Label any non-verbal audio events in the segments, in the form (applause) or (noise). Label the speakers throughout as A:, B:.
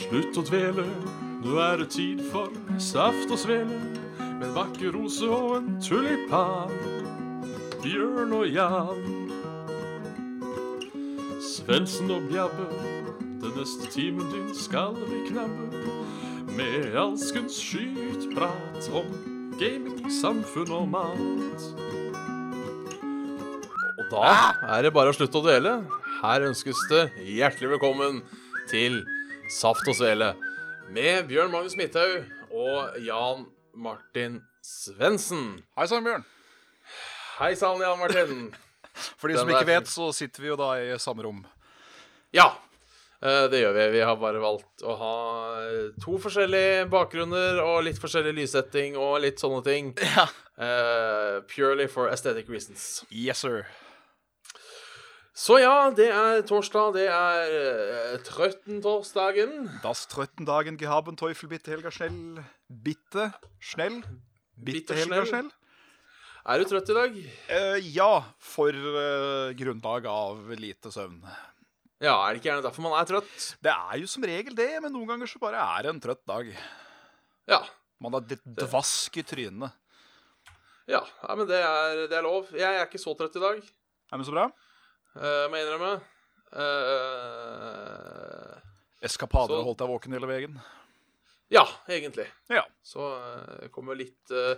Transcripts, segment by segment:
A: Slutt å dvele, nå er det tid for saft og svele. Med en vakker rose og en tulipan. Bjørn og Jan. Svendsen og Bjabbe, den neste timen din skal vi knabbe. Med alskens skytprat om gaming, samfunn og mat.
B: Og da er det bare å slutte å dvele. Her ønskes det hjertelig velkommen til Saft og Svele med Bjørn Magnus Midthaug og Jan Martin Svendsen.
C: Hei sann, Bjørn.
B: Hei sann, Jan Martin.
C: For de
B: Den
C: som ikke
B: der-
C: vet, så sitter vi jo da i samme rom.
B: Ja, eh, det gjør vi. Vi har bare valgt å ha eh, to forskjellige bakgrunner og litt forskjellig lyssetting og litt sånne ting.
C: Ja.
B: Eh, purely for aesthetic reasons.
C: Yes, sir.
B: Så ja, det er torsdag. Det er eh, trøtten-torsdagen.
C: Das trøtten dagen gehaben Teufel bitte Helga Schnell Bitte Schnell?
B: Bitte
C: Bitte Helga
B: Schnell?
C: Schnell?
B: Er du trøtt i dag?
C: Eh, ja, for eh, grunnlag av lite søvn.
B: Ja, er det ikke gjerne derfor man er trøtt?
C: Det er jo som regel det, men noen ganger så bare er det en trøtt dag.
B: Ja.
C: Man har litt dvask i trynet.
B: Ja, Nei, men det er, det er lov. Jeg er ikke så trøtt i dag,
C: Er det så bra?
B: eh, må jeg innrømme. Eh,
C: Eskapader
B: Så-
C: holdt deg våken hele veien.
B: ja, egentlig.
C: Ja.
B: Så eh, kommer litt eh,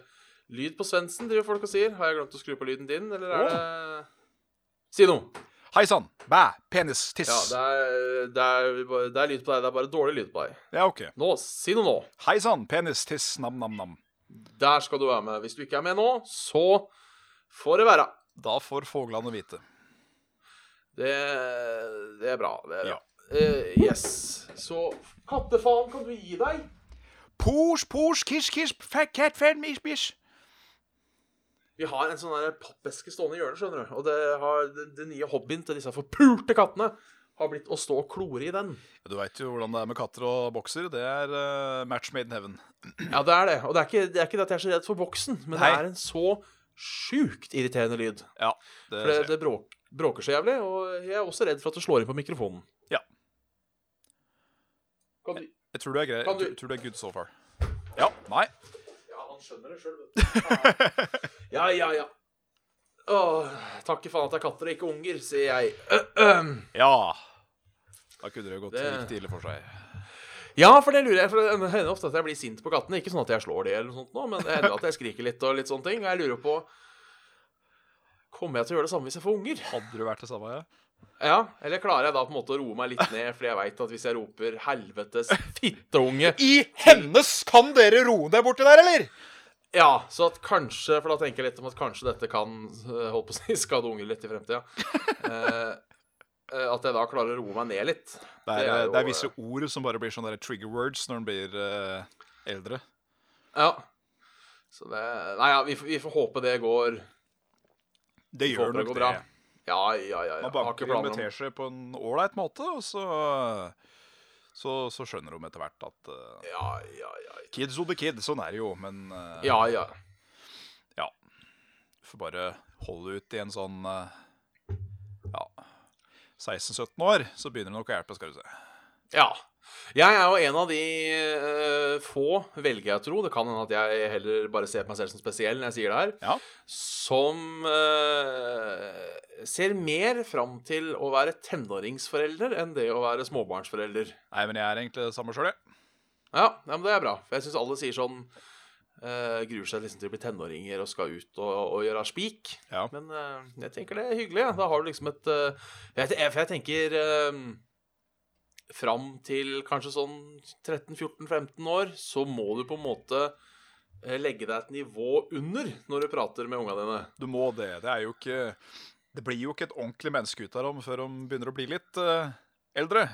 B: lyd på Svendsen, driver folk og sier. Har jeg glemt å skru på lyden din, eller er det Si noe.
C: Hei sann! Bæ! Penis! Tiss!
B: Ja, det er, det, er, bare- det er lyd på deg. Det er bare dårlig lyd på deg.
C: ja OK.
B: Nå, Si noe nå.
C: Hei sann! Penis! Tiss! Nam-nam-nam.
B: Der skal du være med. Hvis du ikke er med nå, så får det være.
C: Da får fuglene vite.
B: Det, det er bra. Det er bra.
C: Ja.
B: Eh, yes. Så Kattefaen, kan du gi deg?
C: Pors, pors, kish, kish, fat cat, fat mish, mish.
B: Vi har en sånn der pappeske stående i hjørnet, skjønner du. Og det, har, det, det nye hobbyen til disse forpulte kattene har blitt å stå og klore i den.
C: Du veit jo hvordan det er med katter og bokser. Det er eh, match made in heaven.
B: Ja, det er det. Og det er ikke det, er ikke det at jeg er så redd for boksen, men
C: Nei.
B: det er en så sjukt irriterende lyd.
C: Ja, det,
B: For det,
C: ser jeg.
B: det bråk, bråker så jævlig, og jeg er også redd for at det slår inn på mikrofonen.
C: Ja.
B: Kan du...
C: jeg tror du er grei.
B: Kan
C: Jeg
B: du-
C: tror- tror du er good so far. Ja. Nei.
B: Ja, han skjønner det sjøl, vet du. (laughs) Ja, ja, ja. Åh, takk i faen at det er katter og ikke unger, sier jeg.
C: Ja. Da kunne det jo gått
B: Det-
C: riktig ille for seg.
B: Ja, for det lurer jeg, for det hender ofte at jeg blir sint på kattene. Ikke sånn at jeg slår de eller noe sånt nå, men det hender at jeg skriker litt og litt sånne ting. Og jeg lurer på Kommer jeg til å gjøre det samme hvis jeg får unger?
C: Hadde du vært det samme, ja?
B: Ja, Eller klarer jeg da på en måte å roe meg litt ned, fordi jeg veit at hvis jeg roper 'helvetes fitteunge'
C: I hennes kan dere roe deg borti der, eller?
B: Ja, så at kanskje For da tenker jeg litt om at kanskje dette kan eh, holdt på å si, (laughs) skade unger litt i fremtida. Eh, eh, at jeg da klarer å roe meg ned litt.
C: Det er,
B: Det
C: eh, det
B: er
C: er,
B: jo,
C: visse ord som bare blir sånne der trigger words når en blir eh, eldre.
B: Ja. Så det Nei ja, vi, får- vi får håpe det går
C: Det
B: Vi får håpe det går bra. Ja, ja, ja. ja.
C: Man
B: Eh, Har ikke
C: banker inn med
B: planer om
C: teskje på en ålreit måte, og så, så, så skjønner de etter hvert at eh,
B: Ja, ja, ja.
C: Kids will be kids, sånn er det jo, men eh,
B: Ja, ja.
C: du får bare holde ut i en sånn eh, ja, 16-17 år, så begynner det nok å hjelpe, skal du se.
B: ja. Jeg er jo en av de eh, få, velger jeg å tro, det kan hende at jeg heller bare ser på meg selv som spesiell når jeg sier det her,
C: Ja.
B: som eh, ser mer fram til å være tenåringsforelder enn det å være småbarnsforelder.
C: Nei, men jeg er egentlig det samme sjøl, jeg.
B: Ja, ja men det er bra. For jeg syns alle sier sånn eh, Gruer seg liksom til å bli tenåringer og skal ut og, og gjøre spik.
C: Ja.
B: Men eh, jeg tenker det er hyggelig. Ja. Da har du liksom et eh, jeg, te- For jeg tenker eh, fram til kanskje sånn 13-14-15 år, så må du på en måte eh, legge deg et nivå under når du prater med unga dine.
C: Du må det. Det er jo ikke Det blir jo ikke et ordentlig menneske ut av dem før de begynner å bli litt eh, eldre.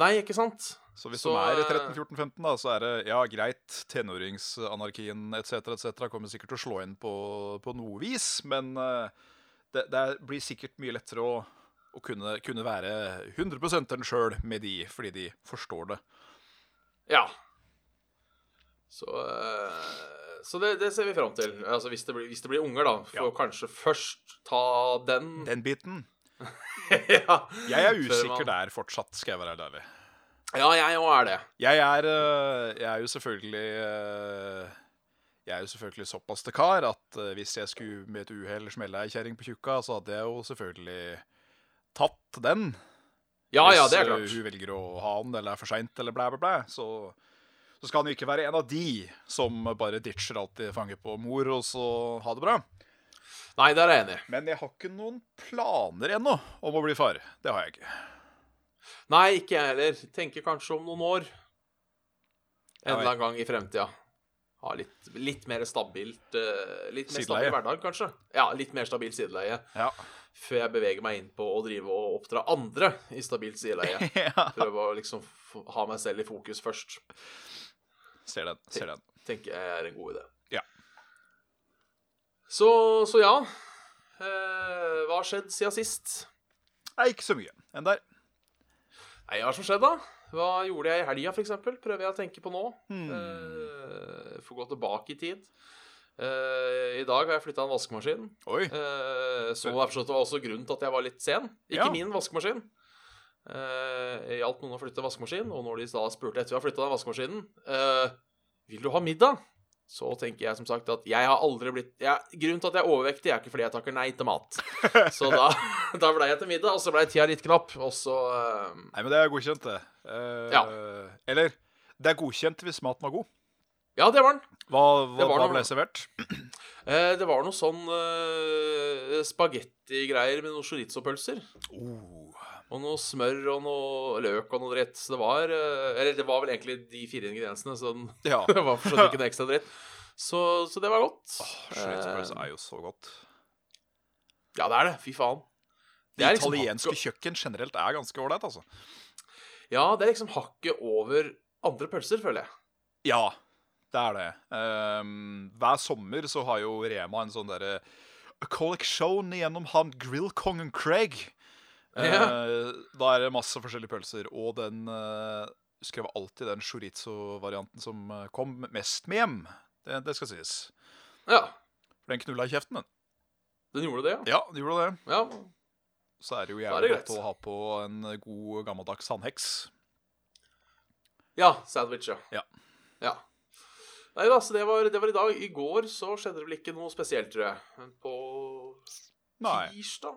B: Nei, ikke sant?
C: Så hvis
B: Så,
C: de er
B: eh,
C: 13-14-15, da, så er det ja, greit, tenåringsanarkien etc. etc. kommer sikkert til å slå inn på, på noe vis, men eh, det, det er- blir sikkert mye lettere å, å kunne, kunne være 100 den sjøl med de, fordi de forstår det.
B: Ja. Så, eh, så det, det ser vi fram til. Altså hvis det blir, hvis det blir unger, da. For
C: Ja.
B: kanskje først ta den. (laughs)
C: Den biten.
B: ja.
C: Jeg er
B: Før
C: usikker
B: man-
C: der fortsatt, skal jeg være helt ærlig.
B: Ja, jeg òg er det.
C: Jeg er, eh, jeg er jo selvfølgelig eh, Jeg er jo selvfølgelig såpass til kar at eh, hvis jeg skulle med et uhell smelle ei kjerring på tjukka, så hadde jeg jo selvfølgelig tatt den.
B: Ja, ja, det er
C: Hvis eh,
B: klart.
C: hun velger å ha den, eller er for seint, eller blæ, blæ, blæ, så, så skal han jo ikke være en av de som bare ditcher alt de fanger på mor, og så ha det bra.
B: Nei, der er jeg enig.
C: Men jeg har ikke noen planer ennå om å bli far. Det har jeg ikke.
B: Nei, ikke jeg heller. Tenker kanskje om noen år. En eller annen gang i fremtida. Ha litt, litt mer stabilt eh, Litt mer
C: Sideleie.
B: stabil hverdag, kanskje. Ja, litt mer stabilt sideleie.
C: Ja. (laughs)
B: Før jeg beveger meg inn på å drive og oppdra andre i stabilt sideleie.
C: ja.
B: Prøve å liksom f- ha meg selv i fokus først.
C: Ser den. Ser den.
B: Tenker jeg er en god idé.
C: Ja.
B: Så, så ja. Eh, hva har skjedd siden sist?
C: Nei, ikke så mye. Enn der.
B: Nei, hva har som skjedd, da? Hva gjorde jeg i helga, f.eks.? Prøver jeg å tenke på nå.
C: Hmm.
B: Eh, får gå tilbake i tid. Eh, I dag har jeg flytta en vaskemaskin.
C: Oi.
B: Eh, så jeg forstått det var også grunnen til at jeg var litt sen. Ikke
C: Ja.
B: min vaskemaskin. Eh, jeg hjalp noen å flytte vaskemaskin, og når de da spurte etter vi har flytta den vaskemaskinen eh, Vil du ha middag? Så tenker jeg som sagt at jeg har aldri blitt jeg, Grunnen til at jeg er overvektig, er ikke fordi jeg takker nei til mat. Så da, (laughs) da blei jeg til middag, og så blei tida litt knapp, og så eh,
C: Nei, men det er godkjent, det. Eh,
B: Ja.
C: Eller det er godkjent hvis maten var god.
B: Ja, det var den.
C: Hva, hva,
B: Det var
C: hva
B: noe-
C: ble servert?
B: Eh, det var noe sånn eh, spagettigreier med noen chorizo-pølser.
C: Oh.
B: Og noe smør og noe løk og noe dritt. Så det var eh, Eller det var vel egentlig de fire ingrediensene, så den, (laughs)
C: Ja.
B: det var for så vidt ikke noe ekstra dritt. Så, så det var godt. Eh,
C: Schweizerpølse altså, er jo så godt.
B: Ja, det er det. Fy faen.
C: Det
B: er liksom
C: italienske
B: hakket-
C: kjøkken generelt er ganske ålreit, altså.
B: Ja, det er liksom hakket over andre pølser, føler jeg.
C: Ja, det er det. Ehm, hver sommer så har jo Rema en sånn derre collection gjennom han grillkongen Craig. Eh, Da er det masse forskjellige pølser, og den eh, Husker jeg var alltid den chorizo-varianten som eh, kom mest med hjem. Det, det skal sies.
B: Ja,
C: For den knulla i kjeften, den.
B: den gjorde det, ja.
C: Ja, det gjorde det.
B: ja.
C: Så er det jo
B: Da er det
C: jævlig godt
B: greit.
C: å ha på en god, gammeldags sandheks.
B: Ja, sandwich, ja.
C: Ja.
B: ja. Nei da, så det var, det var i dag. I går så skjedde det vel ikke noe spesielt, tror jeg. Men på
C: Nei.
B: Tirsdag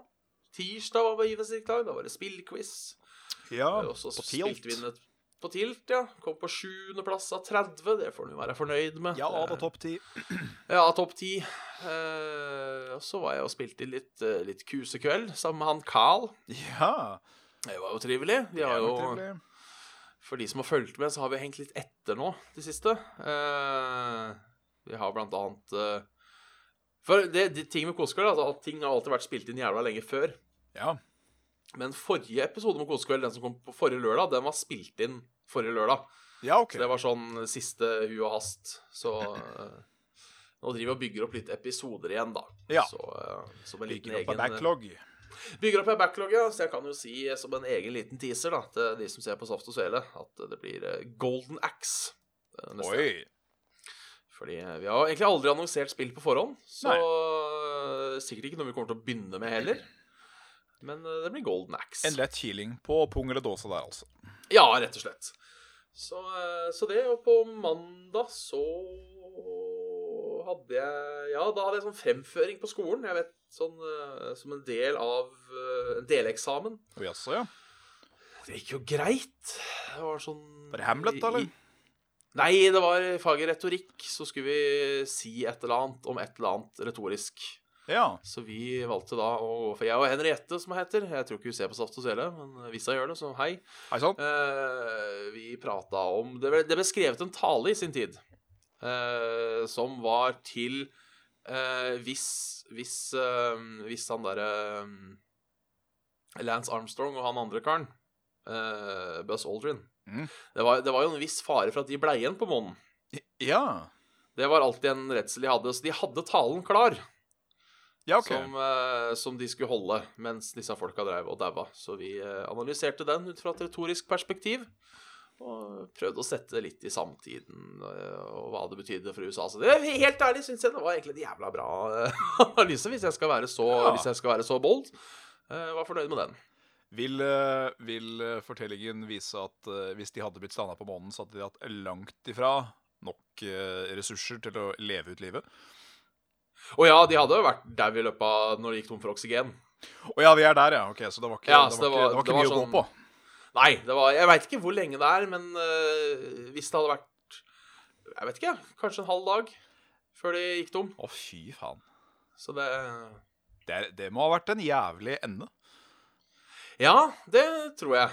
B: Tirsdag var Begivenhets dag. Da var det spillquiz.
C: Ja,
B: Og så
C: på
B: spilte vi
C: tilt.
B: inn et på tilt, ja. Kom på sjuendeplass av 30. Det får du være fornøyd med.
C: Ja,
B: Det-
C: på topp ti.
B: Ja, topp 10. Eh, og så var jeg og spilte inn litt, eh, litt kusekveld sammen med han Carl.
C: Ja.
B: Det var jo trivelig. Vi har
C: jævlig
B: jo,
C: trivelig.
B: for de som har fulgt med, så har vi hengt litt etter nå det siste. Eh, vi har blant annet eh, For det, det ting med kosekveld, altså, at ting har alltid vært spilt inn jævla lenge før.
C: Ja.
B: Men forrige episode med Kosekveld, den som kom på forrige lørdag, den var spilt inn forrige lørdag.
C: ja, OK.
B: Så det var sånn siste hu og hast. Så eh, nå driver vi og bygger opp litt episoder igjen, da.
C: Ja.
B: Så, eh, som en liten
C: Ligger
B: egen eh,
C: oppe på backlog.
B: Bygger opp en backlog, ja. Så jeg kan jo si eh, som en egen liten teaser da, til de som ser på Saft og Svele, at det blir eh, Golden Axe. eh, neste gang.
C: Oi.
B: Fordi eh, vi har egentlig aldri annonsert spill på forhånd, så
C: Nei.
B: eh, sikkert ikke noe vi kommer til å begynne med heller. Men eh, det blir Golden Axe.
C: En lett healing på pung eller dåse der, altså.
B: Ja, rett og slett. Så, eh, så det, og på mandag så hadde jeg Ja, da hadde jeg sånn fremføring på skolen. Jeg vet, sånn eh, som en del av eh, en deleksamen.
C: Og Jaså, ja.
B: Det gikk jo greit. Det var sånn
C: Var det Hamlet, da, eller?
B: I- Nei, det var i faget retorikk. Så skulle vi si et eller annet om et eller annet retorisk.
C: Ja.
B: Så vi valgte da å gå for Jeg og Henriette, som hun heter. Jeg tror ikke hun ser på Saft og Svele, men hvis hun gjør det, så hei.
C: Hei sann.
B: Eh, vi prata om det ble, det ble skrevet en tale i sin tid eh, som var til eh, hvis hvis, eh, hvis han derre eh, Lance Armstrong og han andre karen, eh, Buzz Aldrin
C: Mm.
B: det, var, det var jo en viss fare for at de ble igjen på månen.
C: Ja.
B: Det var alltid en redsel de hadde. Så de hadde talen klar,
C: Ja, OK.
B: som, eh, som de skulle holde mens disse folka drev og daua. Så vi eh, analyserte den ut fra et retorisk perspektiv. Og prøvde å sette det litt i samtiden eh, og hva det betydde for USA. Så det, helt ærlig syns jeg det var egentlig en jævla bra eh, (laughs) analyse, hvis jeg skal være så,
C: Ja.
B: hvis jeg skal være så bold. Eh, var fornøyd med den.
C: Vil, eh, vil eh, fortellingen vise at eh, hvis de hadde blitt standa på månen, så hadde de hatt langt ifra nok eh, ressurser til å leve ut livet?
B: Å ja, de hadde jo vært der vi løpa når det gikk tom for oksygen.
C: Å ja, vi er der, ja. Ok, Så det var ikke,
B: Ja,
C: det
B: så
C: var
B: det var-
C: ikke, det var
B: det
C: ikke
B: var
C: mye å
B: sånn-
C: gå på.
B: Nei, det var, jeg veit ikke hvor lenge det er, men øh, hvis det hadde vært Jeg vet ikke, kanskje en halv dag før det gikk tom.
C: Å, fy faen.
B: Så det
C: Det, er, det må ha vært en jævlig ende.
B: Ja, det tror jeg.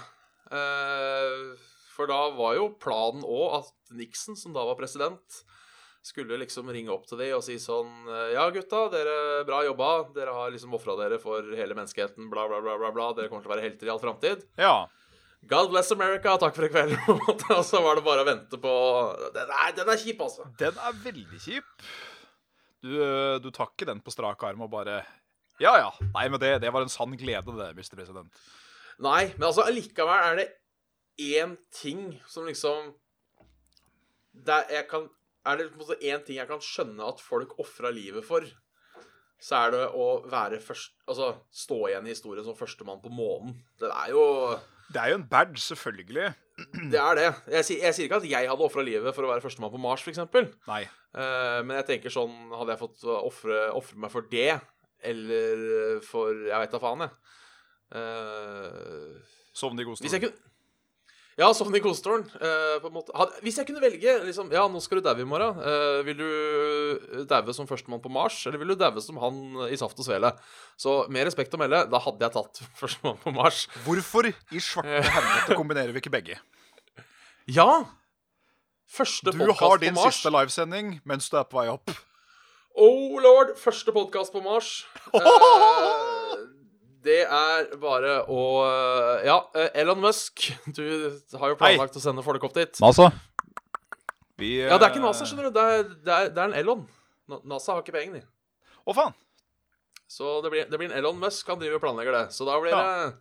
B: Eh, for da var jo planen òg at Nixon, som da var president, skulle liksom ringe opp til de og si sånn eh, Ja, gutta, dere bra jobba. Dere har liksom ofra dere for hele menneskeheten, bla, bla, bla, bla. bla. Dere kommer til å være helter i all framtid.
C: Ja.
B: God bless America, takk for i kveld. (laughs) på en måte. og så var det bare å vente på Den er, den er kjip, altså.
C: Den er veldig kjip. Du, eh, du tar ikke den på strak arm og bare Ja ja. Nei, men det, det var en sann glede, det, Mr. President.
B: Nei, men altså allikevel er det én ting som liksom det er, jeg kan, er det på en måte én ting jeg kan skjønne at folk ofra livet for, så er det å være først Altså stå igjen i historien som førstemann på månen. Det er jo
C: Det er jo en badge, selvfølgelig.
B: Det er det. Jeg, sier- jeg sier ikke at jeg hadde ofra livet for å være førstemann på Mars, f.eks.
C: Nei.
B: Eh, men jeg tenker sånn Hadde jeg fått ofre ofre meg for det, eller for Jeg veit da faen, jeg. Eh,
C: Sovne i god
B: Hvis jeg
C: stol.
B: kunne ja, sånn i kosestolen. eh, på en måte. Had- Hvis jeg kunne velge liksom, Ja, nå skal du daue i morgen. eh, vil du eh, daue som førstemann på Mars, eller vil du daue som han eh, i Saft og Svele? Så med respekt å melde, da hadde jeg tatt (laughs) førstemann på Mars.
C: Hvorfor i
B: (laughs)
C: svarte helvete kombinerer vi ikke begge?
B: Ja! Første
C: Du har
B: podkast på
C: din
B: Mars.
C: siste livesending mens du er på vei opp.
B: Oh lord! Første podkast på
C: (laughs)
B: Mars. Eh, det er bare å eh, Ja, eh, Elon Musk, du har jo
C: Hei.
B: planlagt å sende folk opp dit.
C: NASA. Vi, eh,
B: Ja, det er ikke NASA, skjønner du. Det er, det er, det er en Elon. Na- NASA har ikke penger, de.
C: Å, faen.
B: Så det blir, det blir en Elon Musk. Han driver og planlegger det. Så da blir
C: Ja.
B: det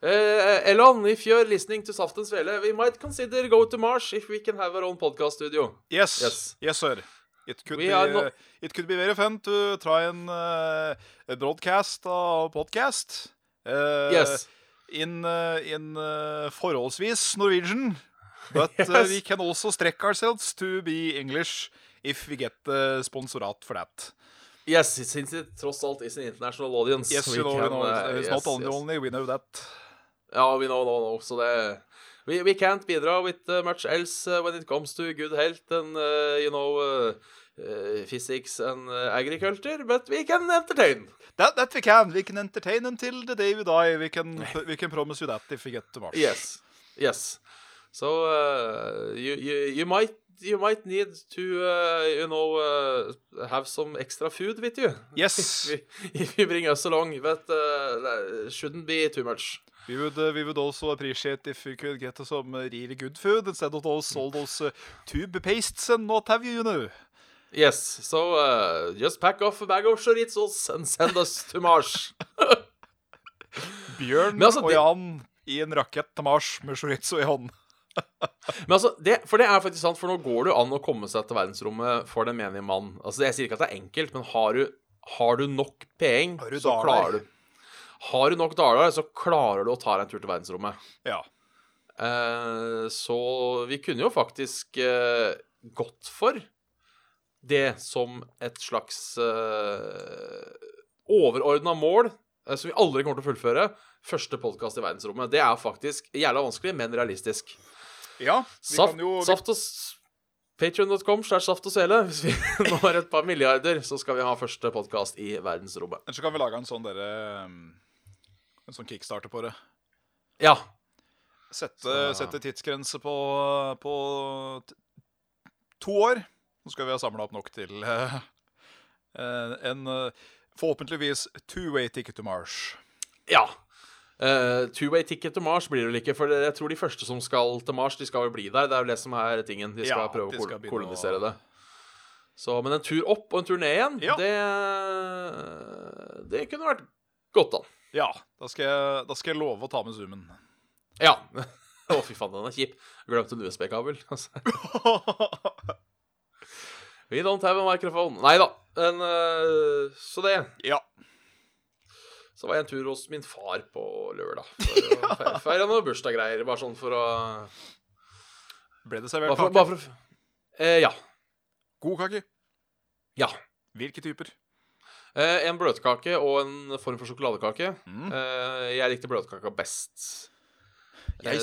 B: eh, Elon, if you're listening to Saftens Vele, we might consider go to Mars if we can have our own podcast studio.
C: Yes. Yes,
B: Yes.
C: sir. It could,
B: We
C: be, eh,
B: are not-
C: it could be very fun to try an uh, a broadcast og podcast. Uh,
B: Yes.
C: In, uh, in uh, forholdsvis Norwegian. But uh,
B: (laughs) Yes.
C: we can also stretch ourselves to be English if we get uh, sponsorat for that.
B: Yes, since it tross alt is an international audience.
C: Yes,
B: we
C: you know,
B: can,
C: we know
B: eh,
C: it's
B: yes,
C: not only,
B: yes.
C: only, we know that.
B: Ja, we know, know, know. Så det We, we can't bidra with uh, much else uh, when it comes to good health and, uh, you know, uh, uh, physics and uh, agriculture, but we can entertain.
C: that. That we can. We can entertain until the day we die. We
B: (laughs)
C: can, we can promise you that if we get to Mars.
B: Yes. Yes. So uh, you, you you might you might need to uh, you know uh, have some extra food with you (laughs)
C: Yes.
B: if you bring us along, but uh, shouldn't be too much.
C: We would, uh, we would also appreciate if you could get us some uh, really good food instead of those, all those uh, tube pastes and what have you, you know.
B: Yes. So uh, just pack off a bag of chorizos and send us to Mars.
C: Bjørn
B: Men altså,
C: og
B: det-
C: Jan i en rakett til Mars med chorizo i hånden.
B: Men altså, det, for det er faktisk sant, for nå går det jo an å komme seg til verdensrommet for den menige mann. Altså, jeg sier ikke at det er enkelt, men har du, har du nok
C: Har
B: penger,
C: du
B: så
C: daler?
B: klarer du Har du nok daler, så klarer du å ta deg en tur til verdensrommet.
C: Ja.
B: Eh, så vi kunne jo faktisk eh, gått for det som et slags eh, overordna mål eh, som vi aldri kommer til å fullføre. Første podkast i verdensrommet. Det er faktisk jævla vanskelig, men realistisk.
C: Ja, vi
B: Saft,
C: kan jo... vi-
B: saft og s- Patreon.com slash saft og sele. Hvis vi (laughs) når et par milliarder, så skal vi ha første podkast i verdensrommet.
C: Ellers så kan vi lage en sånn dere um, En sånn kickstarter på det.
B: Ja.
C: Sette,
B: Så-
C: sette tidsgrense på, på t to år. Så skal vi ha samla opp nok til (laughs) eh, eh, en eh, forhåpentligvis two-way ticket to Mars.
B: ja. Eh, Two-way ticket til Mars blir det vel ikke, for jeg tror de første som skal til Mars, de skal vel bli der. Det er jo det som er tingen. De skal
C: Ja,
B: prøve
C: de
B: å
C: skal
B: kol
C: begynne å-
B: kolonisere det. Så, men en tur opp og en tur ned igjen,
C: Ja.
B: det, det kunne vært godt an.
C: Ja, da skal jeg, da skal jeg love å ta med
B: (laughs)
C: zoomen.
B: Ja. Å, fy faen, den er kjip. Glemte en USB-kabel. (laughs) altså. We don't have a microphone. Nei da. En, eh, så det.
C: ja.
B: Så var jeg en tur hos min far på lørdag
C: (laughs)
B: for å feire- feire noen bursdaggreier. Bare sånn for å
C: Ble det servert
B: Bare for,
C: kake?
B: bare for å eh, Ja.
C: God kake?
B: Ja.
C: Hvilke typer?
B: Eh, en bløtkake og en form for sjokoladekake.
C: Mm.
B: Eh, jeg likte bløtkaka best.
C: Jeg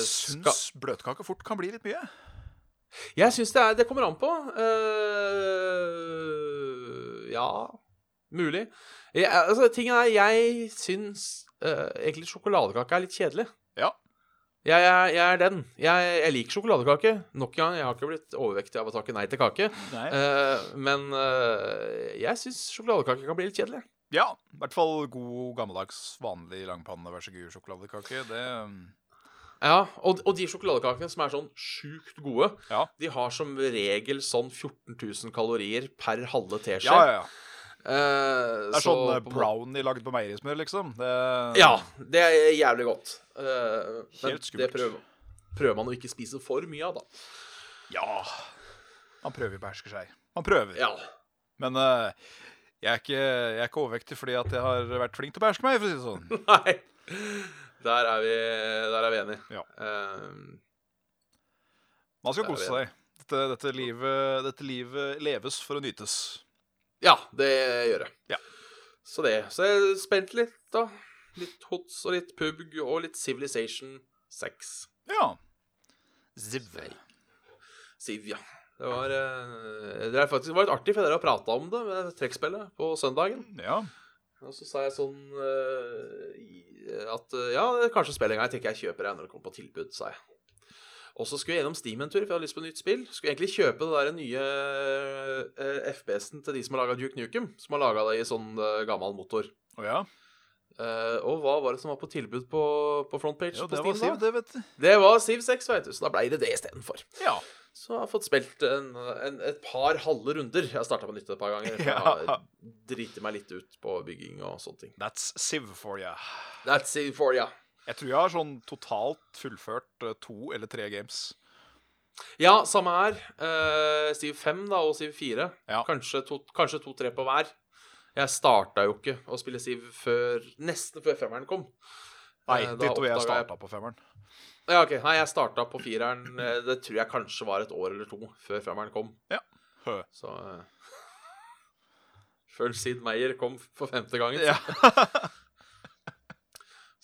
B: eh,
C: syns bløtkake fort kan bli litt mye.
B: Jeg syns det, er, det kommer an på. Eh, ja Mulig. Jeg, altså, tingen er, jeg syns eh, egentlig sjokoladekake er litt kjedelig.
C: Ja.
B: Jeg, er- jeg er den. Jeg, jeg liker sjokoladekake. Nok en gang, jeg har ikke blitt overvektig av å takke nei til kake.
C: Nei.
B: Eh, men eh, jeg syns sjokoladekake kan bli litt kjedelig.
C: Ja, i hvert fall god gammeldags vanlig langpanne vær så god sjokoladekake. Det
B: Ja, og, og de sjokoladekakene som er sånn sjukt gode,
C: Ja.
B: de har som regel sånn 14 000 kalorier per halve teskje.
C: Ja, ja, ja.
B: Eh,
C: Det er
B: så
C: sånn eh,
B: på en måte-
C: brownie lagd på meierismør, liksom. Det,
B: Ja, det er jævlig godt. Eh, men
C: Helt skummelt.
B: Det prøver, prøver man å ikke spise for mye av, da.
C: ja. Man prøver å beherske seg. Man prøver.
B: Ja.
C: Men eh, jeg, er ikke, jeg er ikke overvektig fordi at jeg har vært flink til å beherske meg, for å si det sånn.
B: (laughs) Nei. Der er vi, der er vi enige.
C: Ja.
B: Eh, (laughs)
C: Man skal
B: Der er
C: kose
B: vi
C: seg. Dette, dette, livet, dette livet leves for å nytes.
B: ja, det gjør jeg.
C: Ja.
B: Så det. Så jeg er spent litt, da. Litt hots og litt pubg og litt Civilization 6.
C: Ja. Ziv.
B: Siv, ja. Det var, eh, det er faktisk, det var litt artig, for dere har prata om det med trekkspillet på søndagen.
C: Ja.
B: Og så sa jeg sånn eh, i- at eh, ja, det er kanskje spill en gang. Jeg tenker jeg kjøper det når det kommer på tilbud, sa jeg. Og så skulle jeg gjennom Steam en tur, for jeg hadde lyst på nytt spill. Skulle egentlig kjøpe det der nye eh, FPS-en til de som har laga Duke Nukem, som har laga det i sånn eh, gammel motor.
C: Å ja.
B: Eh, og hva var det som var på tilbud på, på frontpage
C: Jo,
B: på
C: det
B: Steam
C: var Siv,
B: da?
C: det, vet du.
B: Det var Siv 6, veit du, så da blei det det istedenfor.
C: Ja.
B: Så jeg har fått spilt en, en, et par halve runder. Jeg har starta på nytt et par
C: (laughs)
B: ganger. for Jeg
C: Ja.
B: har driti meg litt ut på bygging og sånne ting.
C: That's Siv for you.
B: That's it for ya.
C: Jeg tror jeg har sånn totalt fullført eh, to eller tre games.
B: Ja, samme her. Uh, Siv 5 da, og Siv 4.
C: Ja.
B: Kanskje to-tre på hver. Jeg starta jo ikke å spille Siv før, nesten før femmeren kom.
C: Nei,
B: Eh, da
C: ditt og
B: oppdaga
C: jeg
B: jeg-
C: starta på femmeren.
B: Ja, ok. Nei, jeg starta på fireren. eh, Det tror jeg kanskje var et år eller to før femmeren kom.
C: Ja. Hø.
B: Så eh, Før Sid Meyer kom for femte gangen.
C: Ja.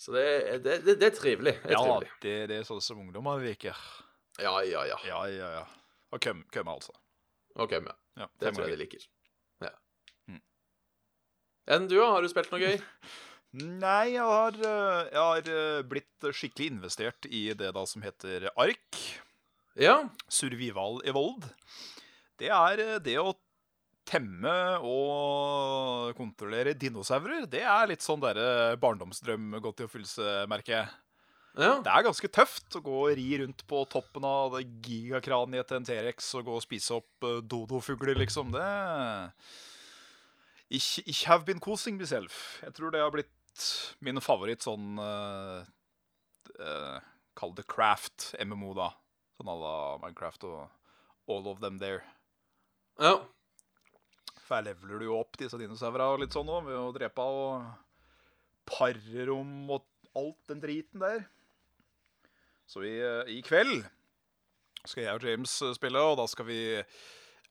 B: Så det, det, det, det er trivelig. Det er
C: Ja,
B: trivelig.
C: det, det er sånn som ungdommer liker.
B: Ja, ja, ja.
C: Ja, ja, ja. Og køm, køm altså.
B: OK, men
C: Ja,
B: det
C: fem
B: tror jeg de
C: ganger.
B: liker. Ja.
C: Mm.
B: Enn du, da? Har du spilt noe
C: (laughs)
B: gøy?
C: Nei, jeg har, eh, jeg har eh, blitt skikkelig investert i det da som heter ARK.
B: Ja.
C: Survival Evolved. Det er eh, det å temme og kontrollere dinosaurer. Det er litt sånn derre barndomsdrøm gått i oppfyllelse, merker jeg.
B: ja.
C: Det er ganske tøft å gå og ri rundt på toppen av det gigakraniet til en T-rex og gå og spise opp eh, dodofugler, liksom. Det Ich, ich have been kosing myself. Jeg tror det har blitt min favoritt sånn uh, Kall det craft MMO, da. Sånn à la Minecraft og all of them there.
B: ja.
C: For her leveler du jo opp disse dinosaura og litt sånn òg, ved å drepe og parrom og alt den driten der. Så i, eh, i kveld skal jeg og James eh, spille, og da skal vi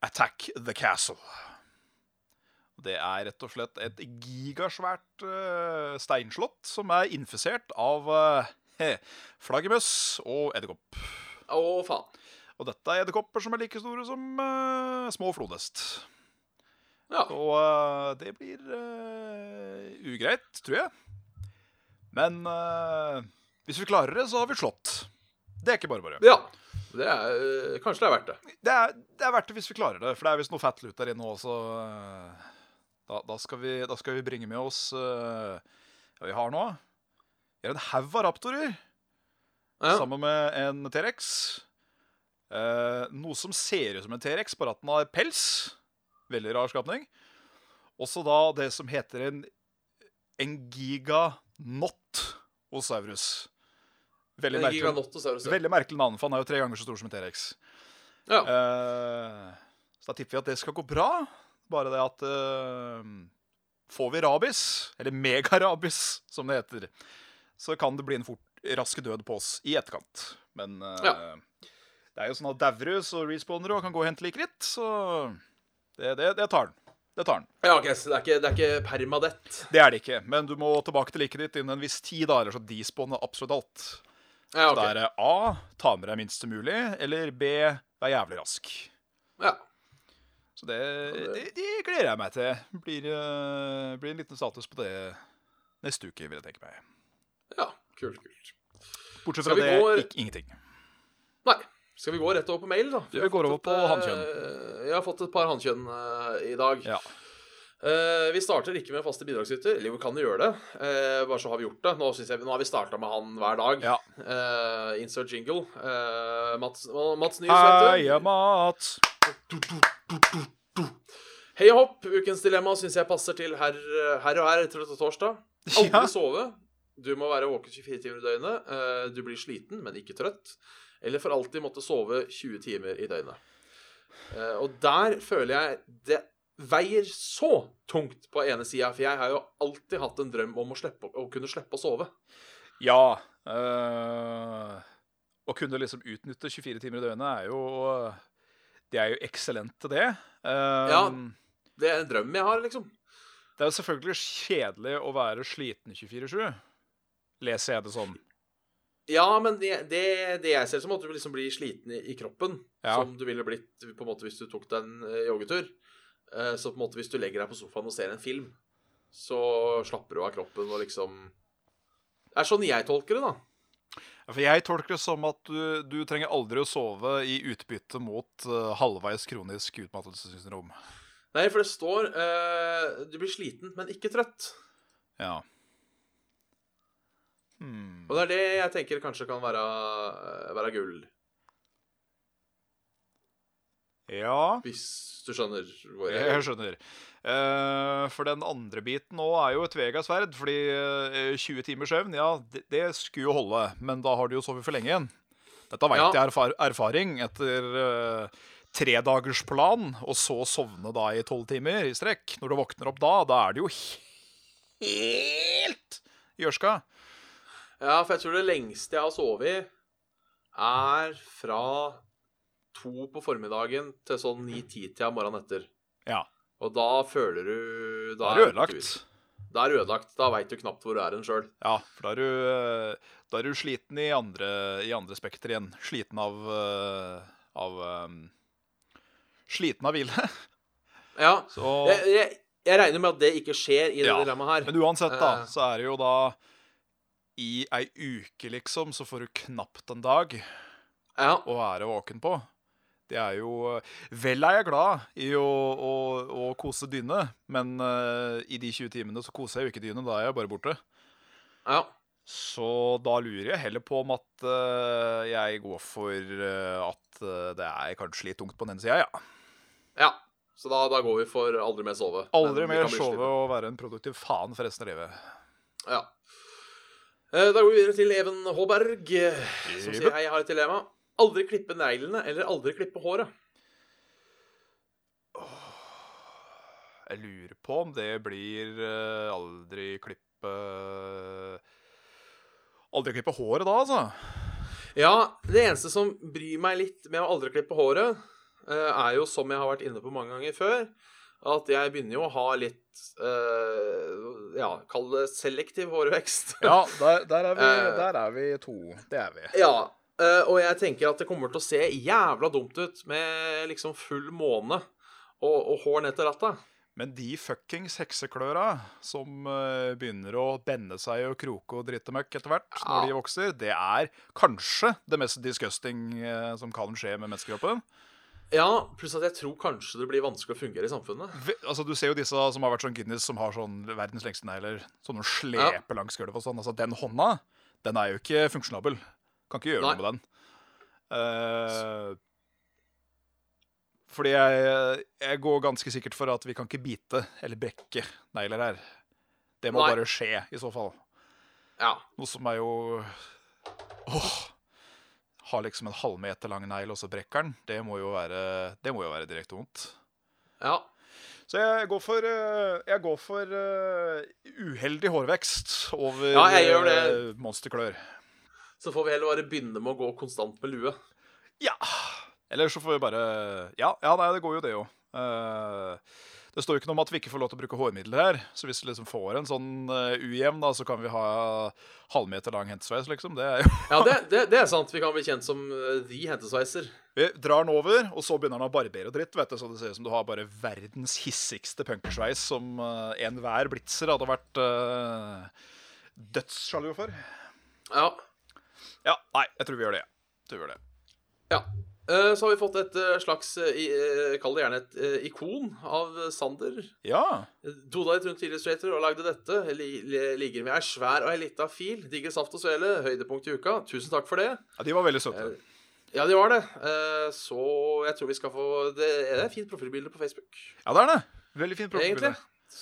C: attack the castle. Og Det er rett og slett et gigasvært eh, steinslott som er infisert av (laughs) uh, flaggermøss og edderkopp.
B: Å, faen.
C: Og dette er edderkopper som er like store som eh, små flodhest.
B: Ja.
C: Og eh, det blir eh, ugreit, tror jeg. Men eh, hvis vi klarer det, så har vi slått. Det er ikke bare bare.
B: ja. Det er, øh, kanskje det er verdt det.
C: Det er, det er verdt det hvis vi klarer det, for det er visst noe fat loot der inne òg, så eh, da, da, skal vi, da skal vi bringe med oss eh, Ja, vi har nå Vi har en haug av raptorer
B: Ja.
C: sammen med en T-rex. Eh, noe som ser ut som en T-rex, bare at den har pels. Veldig rar skapning. Også da det som heter en, en giganott osaurus. Veldig
B: En
C: merkelig,
B: giganotosaurus.
C: veldig merkelig navn, for han er jo tre ganger så stor som en T-rex.
B: Ja.
C: Eh, så da tipper vi at det skal gå bra. Bare det at eh, får vi rabies, eller megarabies, som det heter, så kan det bli en fort, rask død på oss i etterkant. Men eh,
B: Ja.
C: det er jo sånn at dauer du, så respawner du og kan gå og hente like litt, så det, det, det tar den. Det tar den.
B: Ja, ok, så det er ikke, det er ikke permadett.
C: Det er det ikke, men du må tilbake til liket ditt innen en viss tid, da, ellers så despawner absolutt alt.
B: Ja,
C: Så da
B: ok.
C: er det A, ta med deg minst mulig, eller B, vær jævlig rask.
B: Ja.
C: Så det, det, det gleder jeg meg til. Blir, eh, blir en liten status på det neste uke, vil jeg tenke meg.
B: ja. Kult, kult.
C: Bortsett
B: Skal
C: fra
B: vi
C: det,
B: gå-
C: ikk- ingenting.
B: Nei. Skal vi gå rett over på mail, da?
C: Vi
B: har
C: går
B: fått
C: over
B: et,
C: på
B: eh, Jeg har fått et par hannkjønn eh, i dag.
C: Ja.
B: Eh, vi starter ikke med faste bidragsyter. Eller jo, vi kan jo gjøre det. Eh, bare så har vi gjort det. Nå, synes jeg, nå har vi starta med han hver dag.
C: ja.
B: Eh, insert jingle. Eh, Mats, Mats Nyhus, vet du.
C: Heia Mats!
B: Hei og hopp, ukens dilemma syns jeg passer til her, her og her etter dette torsdag. Aldri
C: Ja.
B: sove. Du må være våken 24 timer i døgnet. Eh, Du blir sliten, men ikke trøtt. Eller for alltid måtte sove 20 timer i døgnet. Eh, Og der føler jeg det veier så tungt på ene sida, for jeg har jo alltid hatt en drøm om å, slippe, å kunne slippe å sove.
C: Ja. eh, å kunne liksom utnytte 24 timer i døgnet er jo Det er jo eksellent til det. Eh,
B: Ja. Det er en drøm jeg har, liksom.
C: Det er jo selvfølgelig kjedelig å være sliten 24-7. Leser jeg det sånn.
B: Ja, men det, det, det jeg ser som at du liksom blir sliten i, i kroppen,
C: Ja.
B: som du ville blitt på en måte hvis du tok deg en eh, joggetur. Eh, Så på en måte hvis du legger deg på sofaen og ser en film, så slapper du av kroppen og liksom Det er sånn jeg tolker det, da.
C: Ja, For jeg tolker det som at du, du trenger aldri å sove i utbytte mot eh, halvveis kronisk utmattelsessyndrom.
B: Nei, for det står eh, Du blir sliten, men ikke trøtt.
C: Ja. Hmm.
B: Og det er det jeg tenker kanskje kan være, eh, være gull,
C: Ja.
B: hvis du skjønner hvor jeg
C: Jeg (laughs) skjønner. Eh, for den andre biten nå er jo et tveegget sverd. Fordi eh, 20 timers søvn, ja, det, det skulle jo holde. Men da har du jo sovet for lenge igjen. Dette veit
B: Ja.
C: jeg av erfar erfaring etter uh, tredagersplan, og så sovne da i tolv timer i strekk. Når du våkner opp da, da er det jo helt gjørska.
B: Ja, for jeg tror det lengste jeg har sovet i, er fra to på formiddagen til sånn ni-ti-tida morgenen etter.
C: Ja.
B: Og da føler du
C: Da
B: er
C: er det
B: du
C: ødelagt.
B: ut. Da er det ødelagt. Da veit du knapt hvor du er hen sjøl.
C: Ja, for da er du, eh, da er du sliten i andre, i andre spekter igjen. Sliten av, eh, av eh, Sliten av hvile.
B: Ja.
C: (laughs) Så,
B: Jeg, jeg, jeg regner med at det ikke skjer i det
C: Ja,
B: dilemmaet her.
C: men uansett,
B: Eh.
C: da, så er det jo da I ei uke, liksom, så får du knapt en dag
B: Ja.
C: å være våken på. Det er jo Vel er jeg glad i å, å, å kose dyne, men eh, i de 20 timene så koser jeg jo ikke dyne. Da er jeg bare borte.
B: ja.
C: Så da lurer jeg heller på om at eh, jeg går for eh, at eh, det er kanskje litt tungt på den sida, ja.
B: ja. Så da, da går vi for aldri mer sove.
C: Aldri
B: Men vi
C: mer
B: kan bli
C: sove
B: slitne.
C: og være en produktiv faen for resten av livet.
B: Ja. Eh, Da går vi videre til Even Håberg, eh, som sier
C: Even.
B: hei, jeg har et dilemma. Aldri klippe neglene eller aldri klippe håret.
C: Jeg lurer på om det blir eh, aldri klippe Aldri klippe håret da, altså.
B: Ja, det eneste som bryr meg litt med å aldri klippe håret, eh, er jo, som jeg har vært inne på mange ganger før, at jeg begynner jo å ha litt eh, Ja, kall det selektiv hårvekst.
C: Ja, (laughs) der, der, er
B: Eh.
C: der er vi to. Det er vi.
B: (laughs) Ja, eh, og jeg tenker at det kommer til å se jævla dumt ut med liksom full måne og, og hår ned til rattet.
C: Men de fuckings heksekløra som eh, begynner å bende seg og kroke og drite møkk etter hvert
B: Ja.
C: når de vokser, det er kanskje det mest disgusting eh, som kan skje med menneskekroppen.
B: Ja, pluss at jeg tror kanskje det blir vanskelig å fungere i samfunnet.
C: Ve- Altså, Du ser jo disse som har vært sånn Guinness, som har sånn verdens lengste negler, som de sleper langs gulvet og sånn. Altså, Den hånda, den er jo ikke funksjonabel. Kan ikke gjøre
B: Nei.
C: noe med den. Eh, fordi jeg, jeg går ganske sikkert for at vi kan ikke bite eller brekke negler her. Det må
B: Nei.
C: bare skje, i så fall.
B: Ja.
C: Noe som er jo Åh! Har liksom en halvmeter lang negl, og så brekker den. Det må jo være, det må jo være direkte vondt.
B: ja.
C: Så jeg går for, eh, jeg går for eh, uheldig hårvekst over
B: Ja, jeg gjør det.
C: eh, monsterklør.
B: Så får vi heller bare begynne med å gå konstant med lue.
C: Ja. Eller så får vi bare Ja, ja nei, det går jo det òg. det står jo ikke noe om at vi ikke får lov til å bruke hårmiddel her. Så hvis vi liksom får en sånn eh, ujevn, da, så kan vi ha halvmeter lang hentesveis, liksom. Det er jo (laughs)
B: Ja, det, det, det er sant. Vi kan bli kjent som eh, de hentesveiser.
C: Vi drar den over, og så begynner han å barbere og dritt. Vet du, så det ser ut som du har bare verdens hissigste punkersveis som eh, enhver blitzer hadde vært uh, dødssjalu for.
B: Ja.
C: Ja, nei, jeg tror vi gjør det. Jeg tror vi gjør det.
B: ja. Eh, Så har vi fått et eh, slags eh, i- eh, Kall det gjerne et eh, ikon av eh, Sander.
C: Ja.
B: Doda i Trunt Illustrator og lagde dette. Li- li- Ligger med ei svær og ei lita fil. Digger saft og svele. Høydepunkt i uka. Tusen takk for det.
C: ja, de var veldig søte.
B: Ja, de var det. Eh, Så jeg tror vi skal få Det er et fint profilbilde på Facebook,
C: Ja, det er det. Veldig fin
B: egentlig.
C: profilbilde.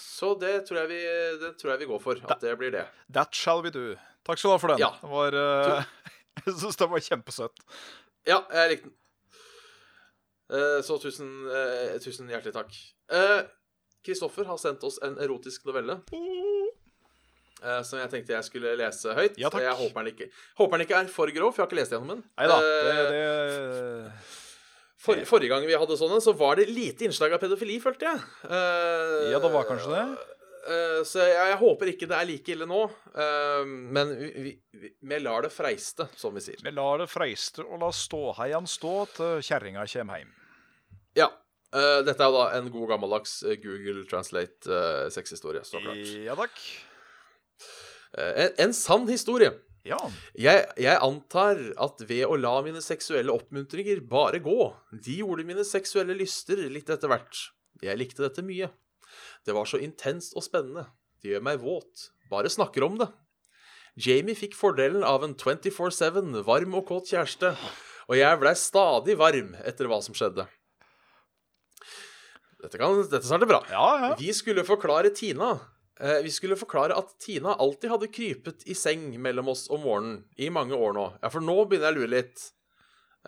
B: Så det tror, jeg vi, det tror jeg vi går for. At det blir det.
C: That shall we do. Takk skal du ha for den.
B: Ja.
C: Det var, eh, (laughs) jeg syns den var kjempesøt.
B: Ja, jeg likte den. Eh, Så tusen, eh, tusen hjertelig takk. Eh, Kristoffer har sendt oss en erotisk novelle eh, som jeg tenkte jeg skulle lese høyt.
C: Ja, takk.
B: Jeg håper den, ikke, håper den ikke er for grov, for jeg har ikke lest gjennom den.
C: Nei da. Det,
B: Eh,
C: det
B: For, forrige gang vi hadde sånne, så var det lite innslag av pedofili, følte jeg. Eh,
C: Ja, det var kanskje det.
B: eh, så jeg, jeg håper ikke det er like ille nå. eh, men vi, vi, vi, vi lar det freiste, som vi sier.
C: Vi lar det freiste og la ståheian stå til kjerringa kjem heim.
B: Ja. eh, dette er jo da en god gammeldags eh, Google Translate eh, sexhistorie, så klart.
C: Ja takk.
B: Eh, en, en sann historie.
C: Ja.
B: Jeg, jeg antar at ved å la mine seksuelle oppmuntringer bare gå, de gjorde mine seksuelle lyster litt etter hvert. Jeg likte dette mye. Det var så intenst og spennende. Det gjør meg våt. Bare snakker om det. Jamie fikk fordelen av en 24-7 varm og kåt kjæreste, og jeg blei stadig varm etter hva som skjedde. Dette, kan, dette starter bra.
C: Ja, ja.
B: Vi skulle forklare Tina eh, Vi skulle forklare at Tina alltid hadde krypet i seng mellom oss om morgenen i mange år nå. Ja, for nå begynner jeg å lure litt.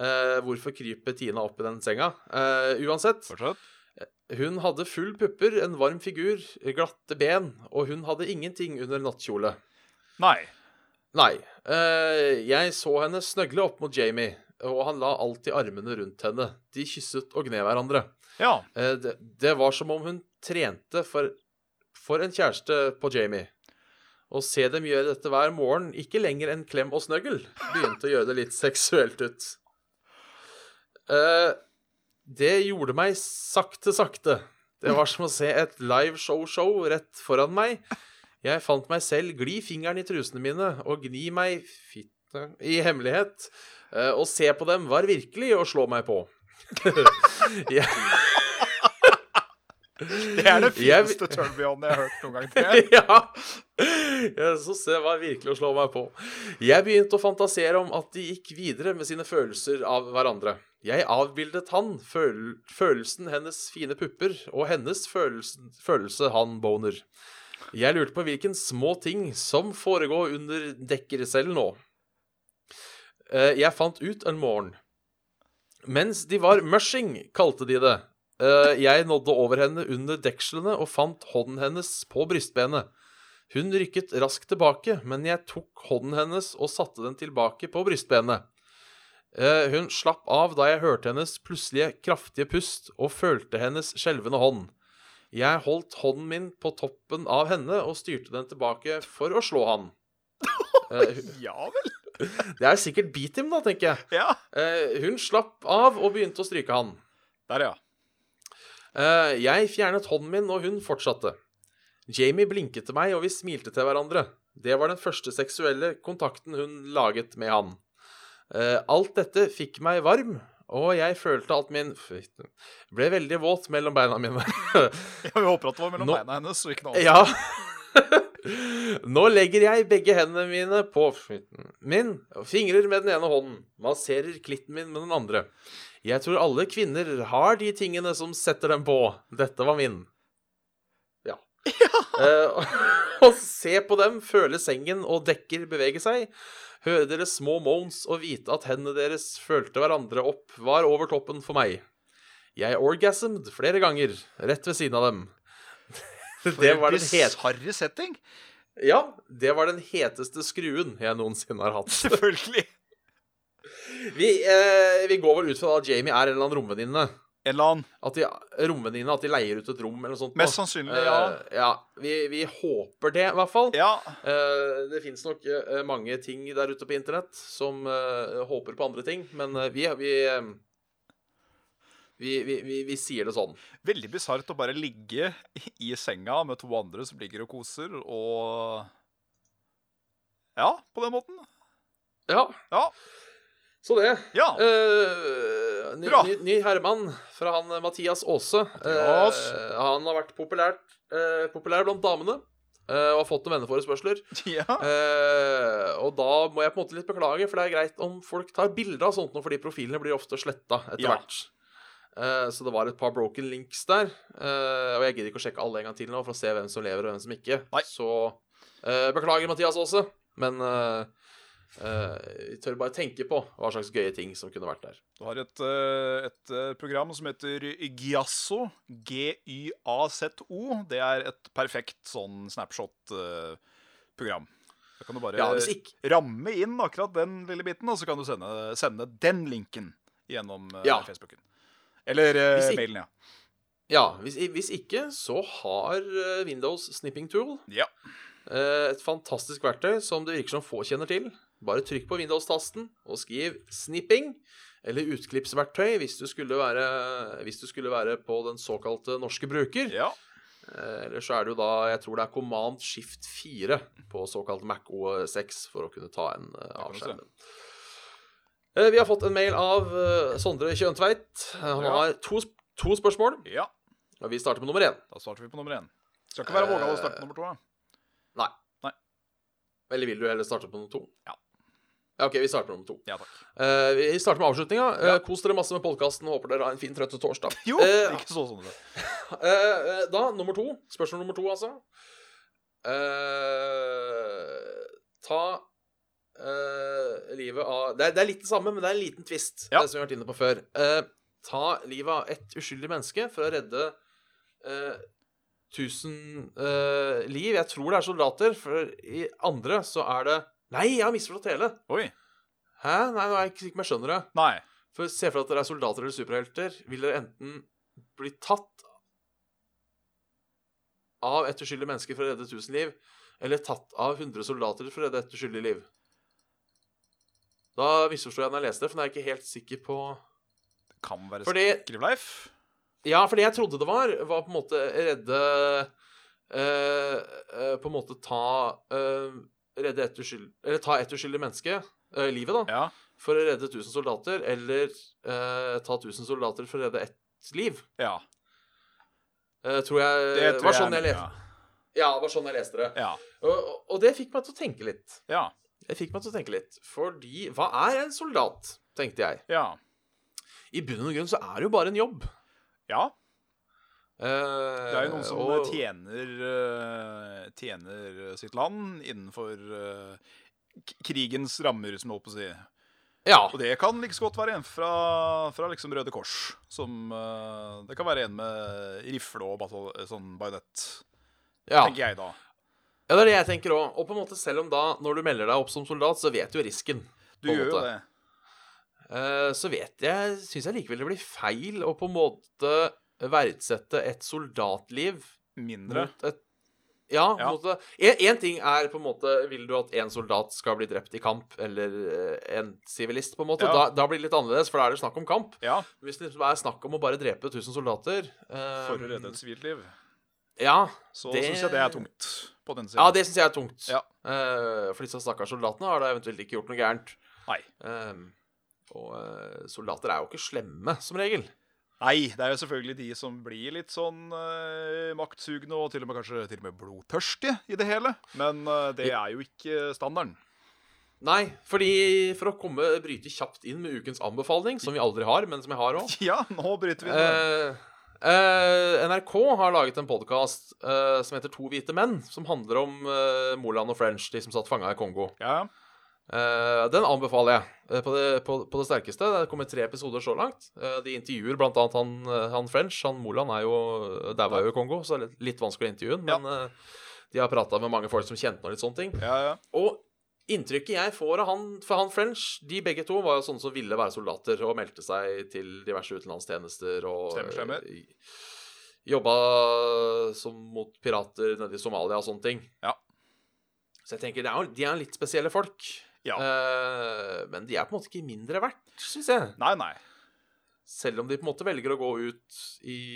B: Eh, hvorfor kryper Tina opp i den senga? Eh, uansett.
C: Fortsett.
B: Hun hadde full pupper, en varm figur, glatte ben, og hun hadde ingenting under nattkjole.
C: Nei.
B: Nei. Eh, jeg så henne snøgle opp mot Jamie, og han la alltid armene rundt henne. De kysset og gned hverandre.
C: Ja.
B: Eh, det, det var som om hun trente for, for en kjæreste på Jamie. Å se dem gjøre dette hver morgen, ikke lenger enn klem og snøggel, begynte å gjøre det litt seksuelt ut. Eh, det gjorde meg sakte, sakte. Det var som å se et live show-show rett foran meg. Jeg fant meg selv gli fingeren i trusene mine og gni meg fitte i hemmelighet. Eh, Å se på dem var virkelig å slå meg på. jeg,
C: Det er det
B: Jeg-
C: fineste turn-on jeg har hørt noen gang.
B: (laughs)
C: til.
B: ja. Jeg så se hva virkelig å slå meg på. Jeg begynte å fantasere om at de gikk videre med sine følelser av hverandre. Jeg avbildet han, føl følelsen hennes fine pupper, og hennes følelse, følelse han boner. Jeg lurte på hvilken små ting som foregår under dekker selv nå. Eh, Jeg fant ut en morgen. Mens de var mushing, kalte de det. Eh, Jeg nådde over henne under dekslene og fant hånden hennes på brystbenet. Hun rykket raskt tilbake, men jeg tok hånden hennes og satte den tilbake på brystbenet. Eh, Hun slapp av da jeg hørte hennes plutselige kraftige pust og følte hennes skjelvende hånd. Jeg holdt hånden min på toppen av henne og styrte den tilbake for å slå han. Eh, hun-
C: (laughs) Ja vel.
B: Det er sikkert beat him, da, tenker jeg.
C: Ja.
B: Eh, Hun slapp av og begynte å stryke han.
C: Der, ja.
B: Eh, jeg fjernet hånden min, og hun fortsatte. Jamie blinket til meg, og vi smilte til hverandre. Det var den første seksuelle kontakten hun laget med han. Eh, alt dette fikk meg varm, og jeg følte at min Fytte. Ble veldig våt mellom beina mine. (laughs)
C: ja. Vi håper at det var mellom
B: Nå-
C: beina hennes. og ikke noe annet.
B: ja. Nå legger jeg begge hendene mine på Fytten min, og fingrer med den ene hånden, masserer klitten min med den andre. Jeg tror alle kvinner har de tingene som setter dem på. Dette var min. Ja. Eh, (laughs) Å se på dem, føle sengen og dekker bevege seg, høre deres små moans og vite at hendene deres følte hverandre opp, var over toppen for meg. Jeg orgasmed flere ganger rett ved siden av dem. (laughs) Det var den het
C: Bisarre setting.
B: ja, det var den heteste skruen jeg noensinne har hatt.
C: Selvfølgelig.
B: Vi, eh, vi går vel ut fra at Jamie er en eller annen romvenninne.
C: En eller annen.
B: At de, romvenninne, at de leier ut et rom eller noe sånt. nå.
C: Mest sannsynlig, ja.
B: Eh, ja vi, vi håper det, i hvert fall.
C: Ja.
B: Eh, det fins nok eh, mange ting der ute på internett som eh, håper på andre ting, men eh, vi, vi, eh, vi, vi, vi, vi sier det sånn.
C: Veldig bisart å bare ligge i senga med to andre som ligger og koser, og Ja, på den måten.
B: Ja,
C: Ja.
B: så det.
C: ja. (laughs)
B: Eh, ny,
C: Bra.
B: ny, ny herremann fra han eh, Mathias Aase.
C: Mathias.
B: Eh, han har vært populært, eh, populær blant damene. eh, og har fått noen venneforespørsler.
C: ja.
B: Eh, og da må jeg på en måte litt beklage, for det er greit om folk tar bilder av sånt nå, fordi profilene blir ofte sletta etter
C: Ja.
B: hvert. Eh, så det var et par broken links der. eh, og jeg gidder ikke å sjekke alle en gang til nå for å se hvem som lever og hvem som ikke.
C: Nei.
B: Så eh, beklager, Mathias Aase, men eh, eh, vi tør bare tenke på hva slags gøye ting som kunne vært der.
C: Du har et, eh, et eh, program som heter Gyazzo. G-y-a-z-o. Det er et perfekt sånn snapshot-program. Da kan du bare
B: Ja, hvis ikke
C: ramme inn akkurat den lille biten, og så kan du sende, sende den linken gjennom eh,
B: Ja.
C: Facebooken. Eller eh,
B: Hvis ikke-
C: mailen, ja.
B: Ja, hvis, hvis ikke, så har eh, Windows Snipping Tool
C: Ja.
B: eh, et fantastisk verktøy som det virker som få kjenner til. Bare trykk på Windows-tasten og skriv 'snipping' eller 'utklippsverktøy' hvis du skulle være, hvis du skulle være på den såkalte norske bruker.
C: ja.
B: Eh, eller så er det jo da Jeg tror det er Command Shift 4 på såkalt Mac OS6 for å kunne ta en eh,
C: kan
B: av
C: du se.
B: skjermen. Eh, Vi har fått en mail av eh, Sondre Kjøntveit. Han
C: Ja.
B: har to, sp- to spørsmål.
C: Ja.
B: Og vi starter med nummer én.
C: Da starter vi på nummer én. Skal ikke være vågal å starte
B: Eh,
C: på nummer to. da.
B: Nei.
C: Nei.
B: Eller vil du heller starte på nummer to?
C: Ja.
B: Ja, OK, vi starter med nummer to.
C: Ja takk.
B: Eh, vi starter med avslutninga. Eh,
C: Ja.
B: kos dere masse med podkasten. Håper dere har en fin trøtte torsdag.
C: Jo,
B: Eh,
C: ikke så sånn. ut.
B: eh, eh, da, nummer to. Spørsmål nummer to, altså. Eh, ta eh, livet av det er, det er litt det samme, men det er en liten twist,
C: Ja.
B: det som vi har vært inne på før. Eh, ta livet av ett uskyldig menneske for å redde eh, tusen eh, liv. Jeg tror det er soldater, for i andre så er det Nei, jeg har misforstått hele!
C: Oi.
B: Hæ? Nei, nå er jeg ikke sikker på om jeg skjønner det.
C: Nei.
B: For se for deg at dere er soldater eller superhelter. Vil dere enten bli tatt av et uskyldig menneske for å redde 1000 liv, eller tatt av 100 soldater for å redde et uskyldig liv? Da misforstår jeg når jeg leste det, for nå er jeg ikke helt sikker på
C: Kan være
B: Fordi,
C: Skrivleif.
B: ja, for det jeg trodde det var, var på en måte redde eh, eh, På en måte ta eh, Redde et uskyld, Eller ta et uskyldig menneske, eh, livet, da
C: Ja.
B: for å redde 1000 soldater, eller eh, ta 1000 soldater for å redde ett liv.
C: ja.
B: Eh, tror jeg
C: Det tror
B: var
C: jeg
B: sånn jeg,
C: er
B: le- ja, det var sånn jeg leste det.
C: Ja.
B: Og, og- og det fikk meg til å tenke litt.
C: Ja.
B: Det fikk meg til å tenke litt. Fordi hva er en soldat, tenkte jeg.
C: Ja.
B: I bunn og grunn så er det jo bare en jobb.
C: ja.
B: Eh,
C: Det er jo noen som
B: og-
C: tjener, eh, tjener sitt land innenfor eh, k- krigens rammer, som jeg holdt på å si.
B: Ja.
C: Og det kan like så godt være en fra, fra liksom Røde Kors. Som eh, Det kan være en med rifle og batal sånn bajonett,
B: ja.
C: tenker jeg da.
B: ja, det er det jeg tenker òg. Og på en måte selv om da, når du melder deg opp som soldat, så vet du jo risken.
C: Du
B: På en
C: gjør jo
B: måte.
C: det.
B: Eh, så vet jeg Syns jeg likevel det blir feil å på en måte verdsette et soldatliv
C: Mindre.
B: mot et Ja,
C: Ja.
B: mot det. En, en ting er på en måte Vil du at en soldat skal bli drept i kamp, eller eh, en sivilist, på en måte? Da,
C: Ja.
B: da blir det litt annerledes, for da er det snakk om kamp.
C: Ja,
B: Hvis det liksom er snakk om å bare drepe 1000 soldater eh,
C: for å redde et sivilt liv.
B: Ja,
C: Så
B: Det-
C: syns jeg det er tungt på den
B: ja
C: siden.
B: det syns jeg er tungt.
C: Ja.
B: Eh, for disse stakkars soldatene har da eventuelt ikke gjort noe gærent.
C: Nei.
B: Eh, og eh, soldater er jo ikke slemme, som regel.
C: Nei, det er jo selvfølgelig de som blir litt sånn eh, maktsugne og til og med kanskje til og med blodtørstige i det hele. Men eh, det er jo ikke standarden. (laughs)
B: Nei, fordi for å komme bryte kjapt inn med ukens anbefaling, som vi aldri har, men som jeg har òg
C: Ja, nå bryter vi det.
B: eh, eh, NRK har laget en podkast eh, som heter To hvite menn, som handler om eh, Moland og French, de som satt fanga i Kongo.
C: Ja,
B: Eh, den anbefaler jeg eh, på, det, på, på det sterkeste. Det kommer tre episoder så langt. Eh, de intervjuer blant annet han, eh, han French. Han Moland er jo daua jo i Kongo, så det er litt, litt vanskelig å intervjue han. Men eh, de har prata med mange folk som kjente han og litt sånne ting.
C: Ja, ja.
B: Og inntrykket jeg får av han For han French, de begge to var jo sånne som ville være soldater og meldte seg til diverse utenlandstjenester og
C: Stemmer, stemmer.
B: eh, Jobba som mot pirater nede i Somalia og sånne ting.
C: Ja.
B: Så jeg tenker, det er jo, de er litt spesielle folk.
C: Ja.
B: Eh, men de er på en måte ikke mindre verdt, syns jeg.
C: Nei, nei.
B: Selv om de på en måte velger å gå ut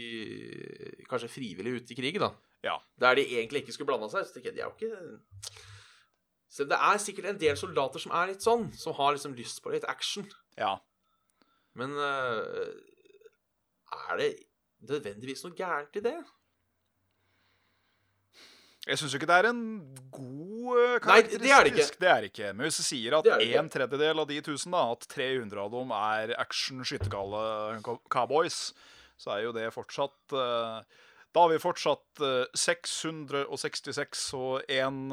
B: i Kanskje frivillig ut i krig, da.
C: Ja.
B: Der de egentlig ikke skulle blanda seg. Så tenker jeg, de er jo ikke Selv om det er sikkert en del soldater som er litt sånn, som har liksom lyst på litt action.
C: Ja.
B: Men eh, er det nødvendigvis noe gærent i det?
C: Jeg syns jo ikke det er en god eh,
B: Nei, det er det
C: karakteristisk.
B: ikke.
C: det er det ikke. Men hvis du sier at
B: Det er det ikke.
C: en tredjedel av de 1000, da, at 300 av dem er action, skyttergale co- cowboys, så er jo det fortsatt eh, Da har vi fortsatt eh, 666 og eh, én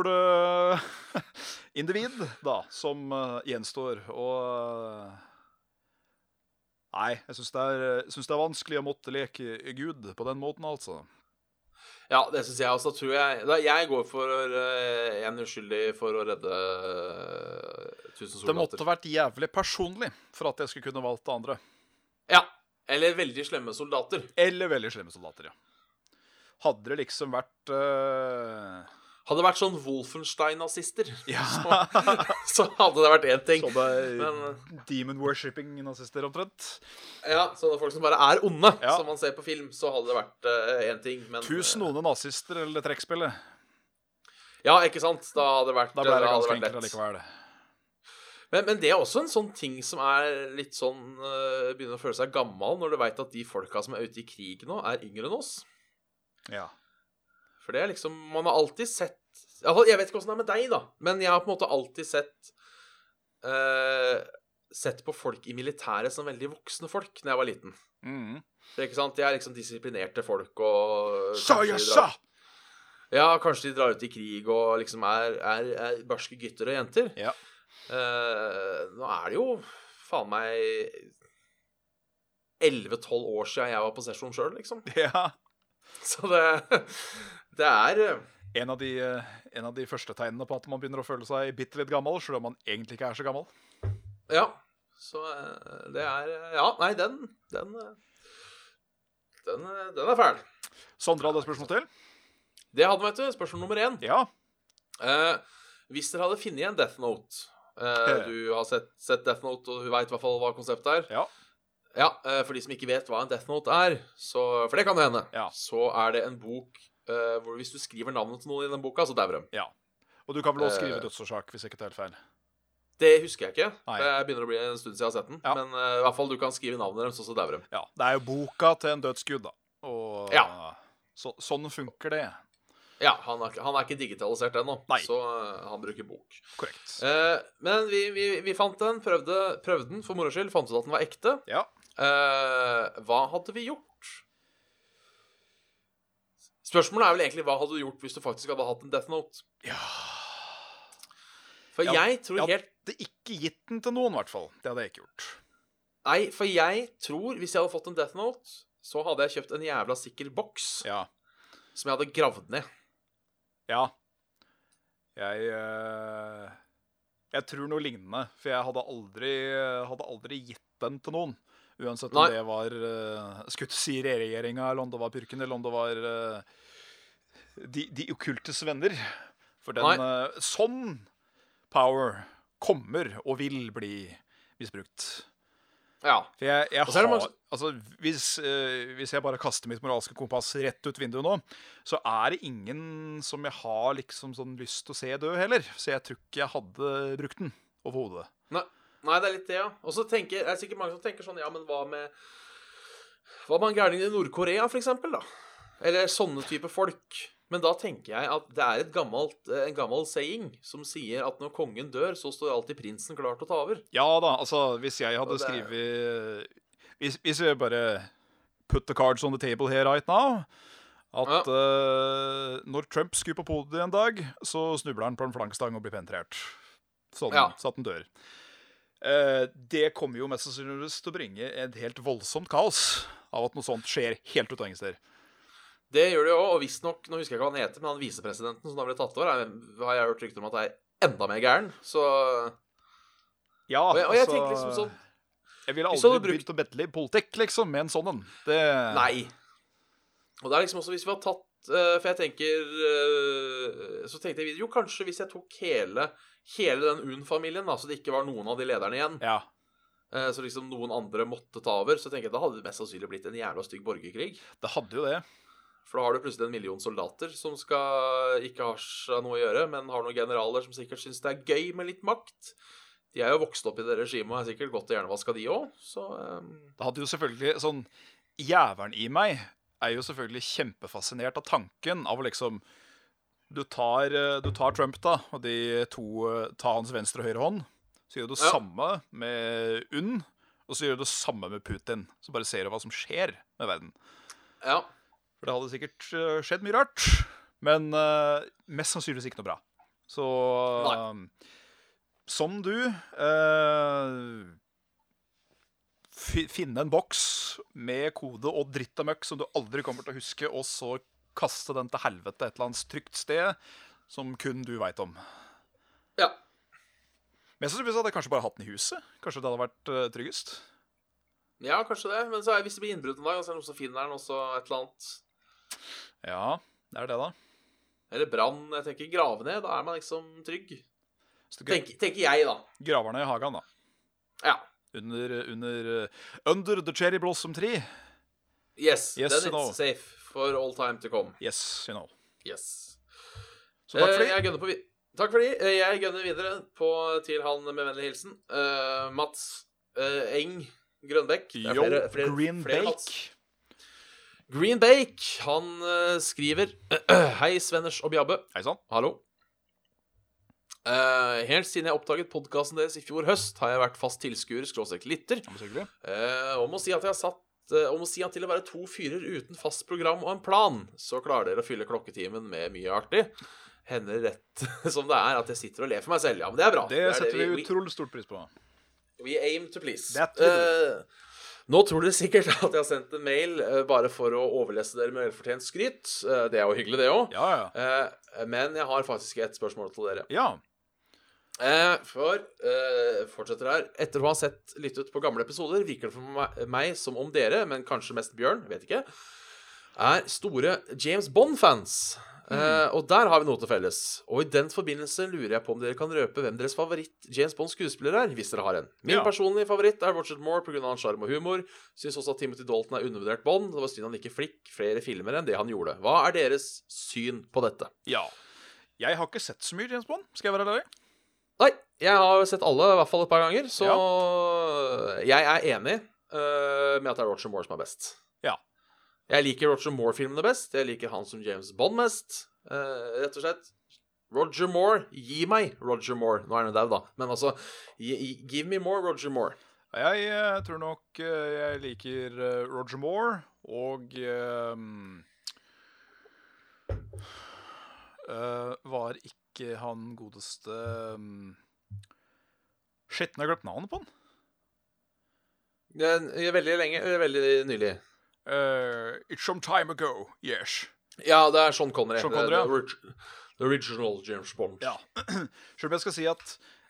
C: (laughs) Rullestol-individ, eh, da, som eh, gjenstår. Og eh, Nei, jeg syns det, er- jeg syns det er vanskelig å måtte leke Gud på den måten, altså.
B: Ja, det syns jeg også. Tror jeg da, Jeg går for eh, en uskyldig for å redde eh, tusen
C: Det måtte
B: soldater.
C: vært jævlig personlig for at jeg skulle kunne valgt det andre.
B: Ja. Eller veldig slemme soldater.
C: Eller veldig slemme soldater, ja. Hadde det liksom vært eh,
B: Hadde det vært sånn Wolfenstein-nazister,
C: (laughs) Ja.
B: (laughs) så, så hadde det vært én ting.
C: Sånn. Sånne
B: Men-
C: demon worshipping nazister, omtrent.
B: Ja, sånne folk som bare er onde,
C: Ja.
B: som man ser på film, så hadde det vært én ting. Men, eh,
C: Tusen onde nazister eller trekkspillet.
B: Ja, ikke sant? Da hadde det vært,
C: Da ble
B: da
C: det
B: hadde
C: ganske
B: det vært
C: enkelt
B: lett.
C: allikevel.
B: Men, men det er også en sånn ting som er litt sånn eh, Begynner å føle seg gammel når du veit at de folka som er ute i krig nå, er yngre enn oss.
C: Ja.
B: For det er liksom Man har alltid sett Altså, Jeg vet ikke åssen det er med deg, da, men jeg har på en måte alltid sett eh, Sett på folk i militæret som veldig voksne folk når jeg var liten.
C: Mm.
B: Det er ikke sant? De er liksom disiplinerte folk og
C: Sa jeg
B: kanskje de
C: sa!
B: drar- Ja, kanskje de drar ut i krig og liksom er, er, er barske gutter og jenter.
C: Ja.
B: Eh, nå er det jo faen meg 11-12 år siden jeg var på sesjon sjøl, liksom. (laughs)
C: Ja.
B: Så det, det er eh,
C: En av, de, eh, en av de første tegnene på at man begynner å føle seg bitte litt gammel, selv om man egentlig ikke er så gammel.
B: Ja. Så eh, det er eh, Ja, nei, den Den, eh, den, eh, den er fæl.
C: Sondre hadde et spørsmål til?
B: Det hadde vi, vet du. Spørsmål nummer én.
C: Ja.
B: Eh, hvis dere hadde funnet en Death Note eh, Du har sett, sett Death Note, og du veit i hvert fall hva konseptet er.
C: Ja.
B: Ja, eh, For de som ikke vet hva en Death Note er, så, for det kan det hende,
C: Ja.
B: så er det en bok eh, hvor hvis du skriver navnet til noen i den boka, så dauer de.
C: Og du kan vel også
B: Eh.
C: skrive dødsårsak, hvis jeg ikke tar helt feil.
B: Det husker jeg ikke.
C: Nei.
B: Det begynner å bli en stund siden jeg har sett den.
C: Ja.
B: Men eh, i hvert fall du kan skrive navnet deres, og så dauer de.
C: Ja, Det er jo boka til en dødsgud, da. Og
B: Ja.
C: så, sånn funker det.
B: Ja, han er, ikke- han er ikke digitalisert ennå,
C: Nei.
B: så eh, han bruker bok.
C: Korrekt.
B: Eh, men vi, vi, vi fant den, prøvde, prøvde den for moro skyld, fant ut at den var ekte.
C: Ja.
B: Eh, hva hadde vi gjort? Spørsmålet er vel egentlig hva hadde du gjort hvis du faktisk hadde hatt en Death Note?
C: Ja.
B: For
C: Ja,
B: jeg tror
C: ja.
B: helt
C: Det er ikke gitt den til noen, i hvert fall. Det hadde jeg ikke gjort.
B: Nei, for jeg tror hvis jeg hadde fått en Death Note, så hadde jeg kjøpt en jævla sikker boks
C: Ja.
B: som jeg hadde gravd ned.
C: ja. Jeg eh, Jeg tror noe lignende, for jeg hadde aldri, hadde aldri gitt den til noen. Uansett om
B: Nei.
C: det var uh, skutt si regjeringa, eller om det var purken, eller om det var eh, de, de okkultes venner. For den eh, sånn power kommer og vil bli misbrukt.
B: Ja.
C: For jeg, jeg
B: Og så er
C: har,
B: det mange-
C: altså, hvis, eh, hvis jeg bare kaster mitt moralske kompass rett ut vinduet nå, så er det ingen som jeg har liksom sånn lyst til å se død heller. Så jeg tror ikke jeg hadde brukt den overhodet.
B: Nei, nei, det er litt det, ja. Og så tenker det er sikkert mange som tenker sånn Ja, men hva med Hva med han gærningen i Nord-Korea, for eksempel, da? Eller sånne type folk. Men da tenker jeg at det er et gammelt, eh, en gammel saying som sier at når kongen dør, så står alltid prinsen klar til å ta over.
C: Ja da, altså hvis jeg hadde
B: Og det er-
C: skrevet hvis, hvis jeg bare put the cards on the table here right now At eh, når Trump skulle på podiet en dag, så snubler han på en flankstang og blir penetrert. Sånn,
B: Ja.
C: Så at han dør. Eh, det kommer jo mest sannsynligvis til å bringe et helt voldsomt kaos av at noe sånt skjer helt ut av ingen steder.
B: Det gjør det jo, og visstnok Nå husker jeg ikke hva han heter, men han visepresidenten som da ble tatt over, er, har jeg hørt rykter om at er enda mer gæren. Så Og
C: Ja,
B: jeg, og jeg
C: altså,
B: tenker liksom sånn
C: Jeg ville
B: hvis du
C: aldri
B: hadde brukt-
C: begynt å bedle i politikk, liksom, med en sånn en. Det
B: Nei. Og det er liksom også hvis vi har tatt eh, For jeg tenker eh, Så tenkte jeg videre Jo, kanskje hvis jeg tok hele Hele den UN-familien, da, så det ikke var noen av de lederne igjen,
C: Ja.
B: eh, så liksom noen andre måtte ta over, så tenker jeg da hadde det mest sannsynlig blitt en jævla stygg borgerkrig.
C: Det hadde jo det.
B: For da har du plutselig en million soldater som skal ikke har seg noe å gjøre, men har noen generaler som sikkert syns det er gøy med litt makt. De er jo vokst opp i det regimet og er sikkert godt og hjernevaska, de òg. Så eh,
C: Det hadde jo selvfølgelig sånn Jævelen i meg er jo selvfølgelig kjempefascinert av tanken av å liksom Du tar, eh, du tar Trump, da, og de to eh, tar hans venstre og høyre hånd. Så gjør du det
B: Ja.
C: samme med UNN, og så gjør du det samme med Putin. Så bare ser du hva som skjer med verden.
B: ja.
C: For det hadde sikkert eh, skjedd mye rart. Men eh, mest sannsynligvis ikke noe bra. Så eh, som du eh, fi- Finne en boks med kode og dritt og møkk som du aldri kommer til å huske, og så kaste den til helvete et eller annet trygt sted som kun du veit om.
B: ja.
C: Men jeg synes hadde jeg kanskje bare hatt den i huset. Kanskje det hadde vært eh, tryggest.
B: Ja, kanskje det. Men så er, hvis det blir innbrudd en dag, og så er det noen som finner den, og så et eller annet
C: Ja, det er det, da.
B: Eller brann. Jeg tenker grave ned. Da er man liksom trygg.
C: Så du
B: Tenker, tenker jeg, da.
C: graver ned i hagen, da.
B: Ja.
C: Under, under eh, Under the cherry blossom tree.
B: Yes.
C: Yes,
B: then it's
C: no.
B: safe for all time to come.
C: Yes, you know.
B: Yes.
C: Så takk for
B: Eh,
C: det.
B: Jeg gønner på vi takk for det. Eh, Jeg gønner videre på, til han med vennlig hilsen. Eh, Mats eh, Eng Grønbekk. Det er
C: Yo,
B: flere- flere-
C: Green
B: flere Mats.
C: Bake.
B: Green Bake. Han eh, skriver (clears throat) Hei, Svenners og Bjabbe.
C: Hei sann.
B: Hallo. Eh, helt siden jeg oppdaget podkasten deres i fjor høst, har jeg vært fast tilskuer, skråstrek lytter,
C: Ja, men så hyggelig.
B: Eh, om å si at jeg har satt eh, om å si at til å være to fyrer uten fast program og en plan, så klarer dere å fylle klokketimen med mye artig. Hender rett (laughs) som det er at jeg sitter og ler for meg selv. Ja, men det er bra.
C: Det
B: er
C: setter vi
B: vi,
C: utrolig stort pris på.
B: we, we aim to please.
C: Det tror vi.
B: Eh, nå tror dere sikkert (laughs) at jeg har sendt en mail eh, bare for å overlesse dere med velfortjent skryt. Eh, det er jo hyggelig, det òg.
C: Ja, ja.
B: men jeg har faktisk et spørsmål til dere.
C: Ja.
B: Eh, for eh, fortsetter her Etter å ha sett litt ut på gamle episoder, virker det for meg, meg som om dere, men kanskje mest Bjørn, vet ikke, er store James Bond-fans. Eh, og der har vi noe til felles. Og i den forbindelse lurer jeg på om dere kan røpe hvem deres favoritt James Bond-skuespiller er, hvis dere har en. Min
C: Ja.
B: personlige favoritt er Roger Moore pga. hans sjarm og humor. Syns også at Timothy Dalton er undervurdert Bond. Det var synd han ikke flikk flere filmer enn det han gjorde. Hva er deres syn på dette?
C: ja. Jeg har ikke sett så mye James Bond, skal jeg være ærlig.
B: Nei, jeg har sett alle i hvert fall et par ganger, så jeg er enig eh, med at det er Roger Moore som er best.
C: Ja.
B: Jeg liker Roger Moore-filmene best. Jeg liker han som James Bond mest. Eh, rett og slett. Roger Moore, gi meg Roger Moore. Nå er han jo dau, da, men altså gi, gi- Give me more Roger Moore.
C: Jeg eh, tror nok eh, jeg liker eh, Roger Moore og ehm, eh, eh, Var ikke han godeste um, Shit, nå har jeg glemt navnet på han.
B: Eh, Veldig lenge eh, Veldig nylig.
C: Eh, it's some time ago, yes.
B: Ja, det er Sean Connery.
C: Sean
B: Det-
C: Connery, ja.
B: det orig- The original James Bond.
C: Ja. (clears throat) Selv om jeg skal si at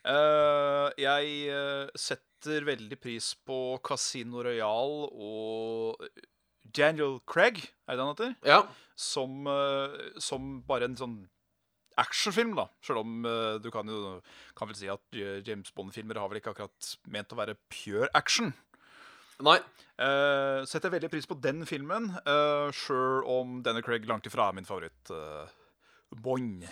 C: eh, jeg eh, setter veldig pris på Casino Royal og eh, Daniel Craig, er det han heter?
B: Ja.
C: Som, eh, som bare en sånn actionfilm, da. Selv om eh, du kan jo kan vel si at eh, James Bond-filmer har vel ikke akkurat ment å være pure action.
B: Nei.
C: Eh, setter jeg veldig pris på den filmen, uh, sjøl om Daniel Craig langt ifra er min favoritt. eh, Bond.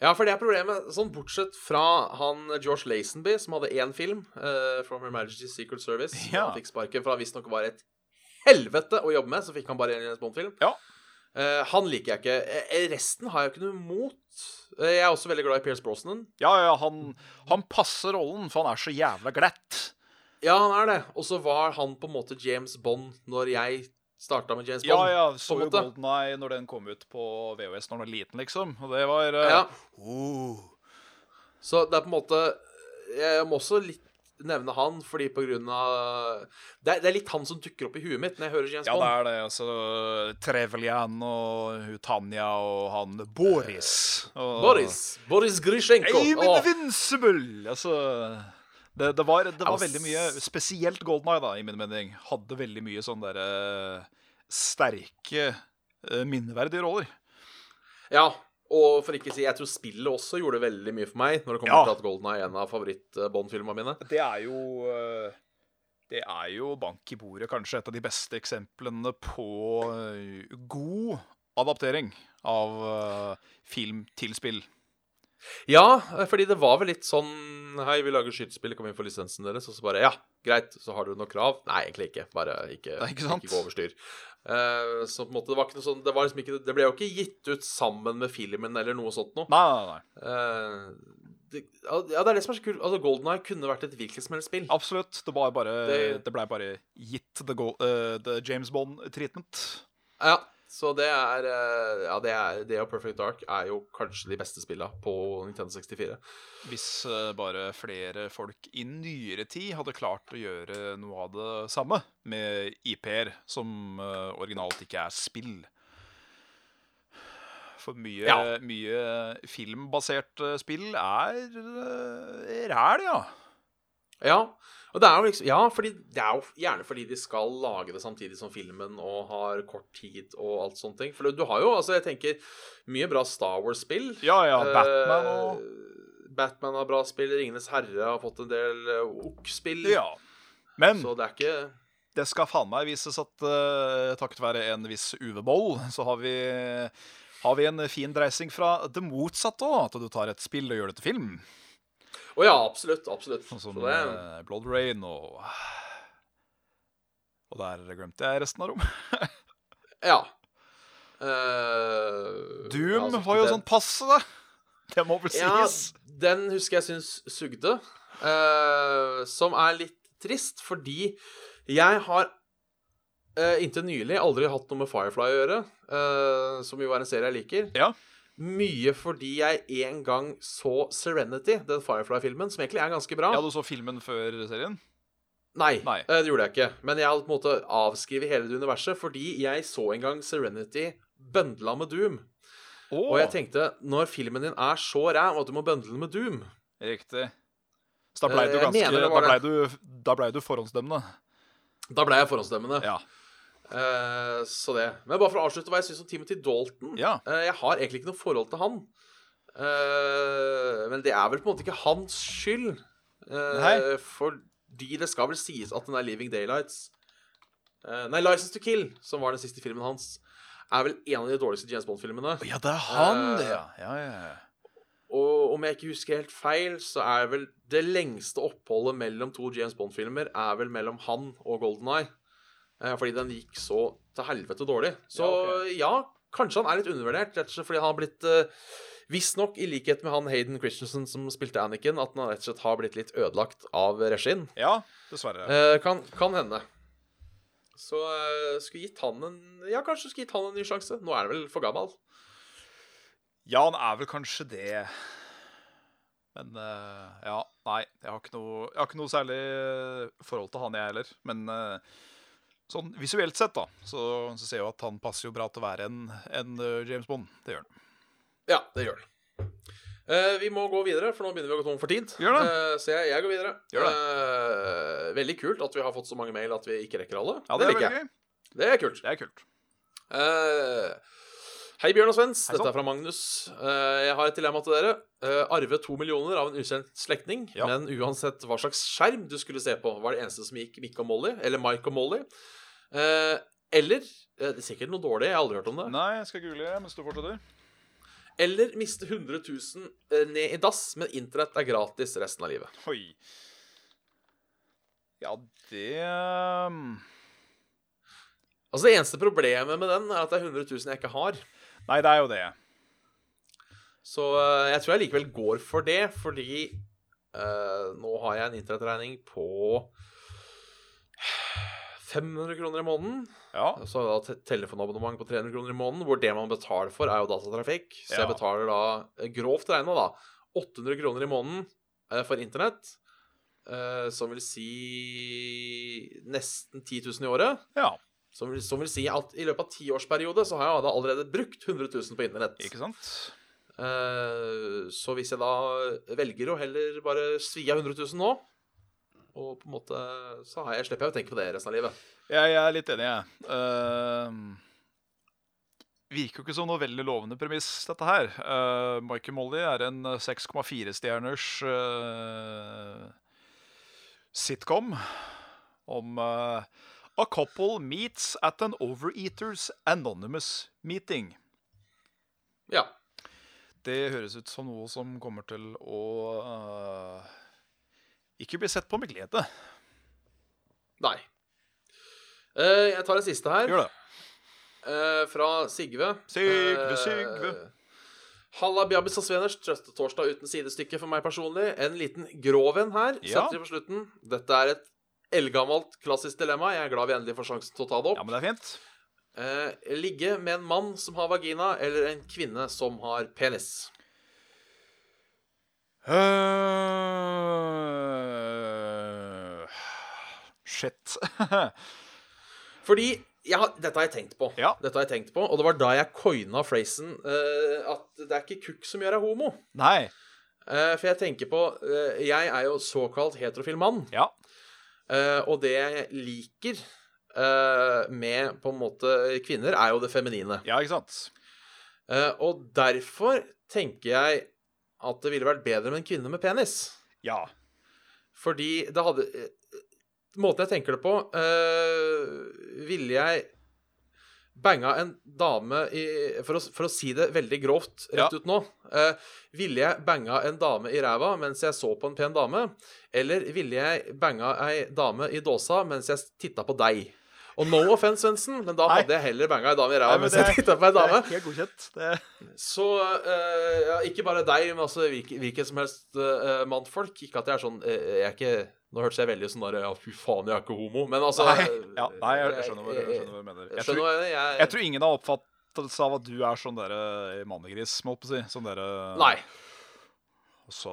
B: Ja, for det er problemet. Sånn bortsett fra han George Lazenby, som hadde én film, eh, From Her Majesty's Secret Service,
C: Ja.
B: ja. han fikk sparken, for han visstnok var et helvete å jobbe med, så fikk han bare én James Bond-film.
C: Ja.
B: Eh, han liker jeg ikke. Eh, resten har jeg ikke noe imot. Eh, jeg er også veldig glad i Pierce Brosnan.
C: Ja, ja, han, han passer rollen, for han er så jævla glatt.
B: Ja, han er det. Og så var han på en måte James Bond når jeg Starta med James
C: Ja,
B: Bond.
C: ja, så
B: på en
C: jo
B: måte.
C: Golden Eye når den kom ut på VHS når den var liten, liksom. Og det var eh,
B: Ja.
C: oh.
B: Så det er på en måte Jeg må også litt nevne han, fordi på grunn av Det er, det er litt han som dukker opp i huet mitt når jeg hører James
C: Ja, det
B: Bond.
C: er det. Altså Trevelyan og hun Tanja og han Boris. Og,
B: Boris. Boris Grishenko.
C: Amy
B: Åh.
C: Invincible! Altså det, det var, det var
B: s-
C: veldig mye Spesielt Golden Eye, da, i min mening, hadde veldig mye sånne derre eh, sterke, eh, minneverdige roller.
B: Ja, og for ikke å si Jeg tror spillet også gjorde veldig mye for meg når det kommer
C: Ja.
B: til at Golden er en av favoritt-Bond-filmene mine.
C: Det er jo eh, Det er jo bank i bordet, kanskje et av de beste eksemplene på eh, god adaptering av eh, film til spill.
B: Ja, fordi det var vel litt sånn Hei, vi lager skytespill, kan vi få lisensen deres? Og så bare Ja, greit, så har dere noe krav? Nei, egentlig ikke. Bare ikke,
C: Nei, ikke sant?
B: gå over styr. Eh, så på en måte, det var ikke noe sånn Det, var liksom ikke, det ble jo ikke gitt ut sammen med filmen eller noe sånt noe.
C: Nei, nei, nei.
B: Eh, det, ja, det er det som er så kult. Altså, Golden Eye kunne vært et hvilket som helst spill.
C: Absolutt. Det, var bare, det...
B: Det-
C: ble bare gitt the, go, eh, the James Bond-treatment.
B: Ja, så det er eh, Ja, det er det og Perfect Dark er jo kanskje de beste spilla på Nintendo 64.
C: Hvis eh, bare flere folk i nyere tid hadde klart å gjøre noe av det samme med IP-er, som eh, originalt ikke er spill. For mye,
B: Ja.
C: mye filmbasert eh, spill er eh, ræl, ja.
B: Ja, og det er jo liksom Ja, fordi det er jo gjerne fordi de skal lage det samtidig som filmen og har kort tid og alt sånne ting. For du har jo, altså, jeg tenker mye bra Star Wars-spill.
C: Ja, ja, Batman og
B: Eh, Batman har bra spill, Ringenes herre har fått en del eh, OK-spill.
C: Ja. Men
B: Så det er ikke
C: Det skal faen meg vises at eh, takket være en viss Uve Boll, så har vi, har vi en fin dreising fra det motsatte òg. At du tar et spill og gjør det til film.
B: Å ja, absolutt. Absolutt.
C: Sånn
B: Så
C: som
B: det,
C: eh, Blood Rain og Og der glemte jeg resten av rommet.
B: ja. Eh,
C: Doom
B: altså,
C: var jo
B: det-
C: sånn passe, da. Det må vel
B: Ja,
C: sies.
B: den husker jeg syns sugde. eh, som er litt trist, fordi jeg har eh, inntil nylig aldri hatt noe med Firefly å gjøre, eh, som jo er en serie jeg liker.
C: Ja.
B: Mye fordi jeg en gang så Serenity, den Firefly-filmen, som egentlig er ganske bra.
C: Ja, du så filmen før serien?
B: Nei,
C: Nei.
B: eh, det gjorde jeg ikke. Men jeg hadde på en måte avskrevet hele det universet, fordi jeg så en gang Serenity bøndla med Doom.
C: Oh,
B: Og jeg tenkte, når filmen din er så ræv at du må bøndle den med Doom
C: Riktig. Så da blei
B: Eh,
C: du
B: jeg
C: ganske
B: mener det
C: Da
B: var
C: blei du, da ble du forhåndsdømmende.
B: Da ble jeg forhåndsdømmende.
C: Ja.
B: Eh, så det. Men bare for å avslutte hva jeg syns om Timothy Dalton.
C: Ja.
B: Eh, jeg har egentlig ikke noe forhold til han. Eh, men det er vel på en måte ikke hans skyld. Eh,
C: Nei.
B: fordi det skal vel sies at den er 'Living Daylights' Eh, Nei, 'License to Kill', som var den siste filmen hans, er vel en av de dårligste James Bond-filmene.
C: Ja, det er han,
B: Eh,
C: det, ja. Ja, ja, ja.
B: Og om jeg ikke husker helt feil, så er vel det lengste oppholdet mellom to James Bond-filmer er vel mellom han og Golden Eye. Fordi den gikk så til helvete dårlig. Så ja,
C: Ja,
B: kanskje han er litt undervurdert, rett og slett fordi han har blitt eh, Visstnok, i likhet med han Hayden Christensen som spilte Anniken, at han rett og slett har blitt litt ødelagt av regien.
C: ja dessverre.
B: Eh, kan, kan hende. Så eh, skulle gitt han en Ja, kanskje skulle gitt han en ny sjanse. Nå er han vel for gammel.
C: Ja, han er vel kanskje det. Men eh, ja, nei. Jeg har ikke noe, jeg har ikke noe særlig eh, forhold til han, jeg heller. Men eh, sånn visuelt sett, da, så, så ser jeg jo at han passer jo bra til å være en, en eh, James Bond. Det gjør han.
B: Ja, det gjør det. Eh, vi må gå videre, for nå begynner vi å gå tom for tid.
C: Gjør det.
B: Eh, så jeg, jeg går videre.
C: Gjør
B: Eh, veldig kult at vi har fått så mange mail at vi ikke rekker alle.
C: Ja, det, er
B: liker
C: veldig
B: jeg.
C: gøy.
B: Det er kult.
C: Det er kult.
B: Eh, hei, Bjørn og Svens.
C: Hei sånn. sann.
B: Dette er fra Magnus. Eh, jeg har et dilemma til dere. Eh, arve to millioner av en ukjent slektning,
C: Ja.
B: men uansett hva slags skjerm du skulle se på, var det eneste som gikk Mick og Molly, eller Mike og Molly. Eh, eller eh, Det er sikkert noe dårlig, jeg har aldri hørt om det.
C: Nei, jeg skal google mens du fortsetter.
B: Eller miste 100 000 eh, ned i dass, men internett er gratis resten av livet.
C: Oi. Ja, det eh,
B: Altså Det eneste problemet med den er at det er 100 000 jeg ikke har.
C: Nei, det er jo det.
B: Så eh, jeg tror jeg likevel går for det, fordi (sighs) eh, nå har jeg en internettregning på 500 kroner i måneden.
C: Ja.
B: Og Så har jeg da te- telefonabonnement på 300 kroner i måneden, hvor det man betaler for, er jo datatrafikk. Så jeg
C: Ja.
B: betaler da, eh, grovt regna, da 800 kroner i måneden eh, for internett. eh, Som vil si nesten 10 000 i året.
C: ja.
B: Som vil, som vil si at i løpet av tiårsperiode så har jeg da allerede brukt 100 000 på internett.
C: Ikke sant?
B: Eh, så hvis jeg da velger å heller bare svi av 100 000 nå, og på en måte så har jeg, slipper jeg å tenke på det resten av livet.
C: Jeg, jeg er litt enig, jeg. Ehm, virker jo ikke som noe veldig lovende premiss, dette her. Uh, Michael Molly er en eh, 6,4-stjerners eh, sitcom om eh, A couple meets at an overeaters anonymous meeting.
B: Ja.
C: Det høres ut som noe som kommer til å eh, ikke bli sett på med glede.
B: Nei. Eh, jeg tar en siste her,
C: Gjør det.
B: eh, fra Sigve.
C: Sigve,
B: Eh,
C: Sigve.
B: Halla, Bjabbis og Sveners. Trøstetorsdag uten sidestykke for meg personlig. En liten grov en her.
C: Ja.
B: Setter vi på slutten. Dette er et eldgammelt, klassisk dilemma. Jeg er glad vi endelig får sjansen til å ta det opp.
C: Ja, men det er fint.
B: Eh, ligge med en mann som har vagina, eller en kvinne som har penis.
C: Eh, Shit. (laughs)
B: Fordi jeg har, Dette har jeg tenkt på.
C: Ja.
B: Dette har jeg tenkt på, Og det var da jeg coina phrasen eh, at det er ikke kukk som gjør deg homo.
C: Nei.
B: Eh, for jeg tenker på eh, Jeg er jo såkalt heterofil mann,
C: Ja.
B: eh, og det jeg liker eh, med på en måte kvinner, er jo det feminine.
C: ja, ikke sant?
B: Eh, og derfor tenker jeg at det ville vært bedre med en kvinne med penis.
C: Ja.
B: Fordi det hadde eh, Måten jeg tenker det på eh, Ville jeg banga en dame i, for, å, for å si det veldig grovt rett
C: Ja.
B: ut nå eh, Ville jeg banga en dame i ræva mens jeg så på en pen dame? Eller ville jeg banga ei dame i dåsa mens jeg titta på deg? Og no offense, Svendsen, men da
C: Nei.
B: hadde jeg heller banga ei dame i
C: Nei,
B: ræva
C: men
B: mens
C: det-
B: jeg titta på ei dame.
C: Det er helt godkjent. Det...
B: Så eh, ja, ikke bare deg, men altså hvilke- hvilken som helst eh, mannfolk. Ikke at jeg er sånn eh, Jeg er ikke Nå hørtes jeg veldig sånn der Ja, fy faen, jeg er ikke homo. Men altså
C: Nei.
B: eh,
C: (laughs) Ja, nei, jeg skjønner hva, jeg
B: jeg-
C: skjønner hva du mener.
B: jeg
C: Jeg
B: skjønner
C: tror,
B: hva jeg, jeg,
C: jeg tror ingen har oppfattelse av at du er sånn derre mannegris, må jeg på å si. Sånn derre
B: Nei. (laughs)
C: Så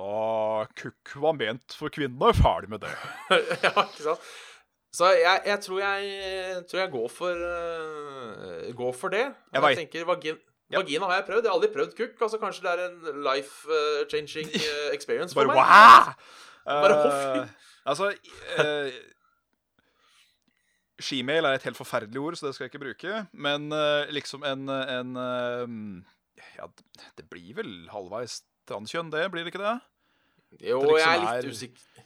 C: kukk var ment for kvinnene, ferdig med det.
B: ja, ikke sant? Så jeg, jeg tror jeg, jeg tror jeg går for eh, Går for det.
C: Jeg
B: Jeg,
C: vet-
B: tenker vagin,
C: Ja.
B: Vagina har jeg prøvd. Jeg har aldri prøvd kukk. Altså, kanskje det er en life-changing eh,
C: (laughs)
B: experience for
C: Bare
B: meg.
C: wow!
B: Bare hoff.
C: altså eh, Shemale er et helt forferdelig ord, så det skal jeg ikke bruke. Men eh, liksom en, en eh, Ja, det blir vel halvveis transkjønn, det? Blir det ikke det?
B: Jo,
C: Det liksom
B: jeg er litt,
C: er-
B: usikker,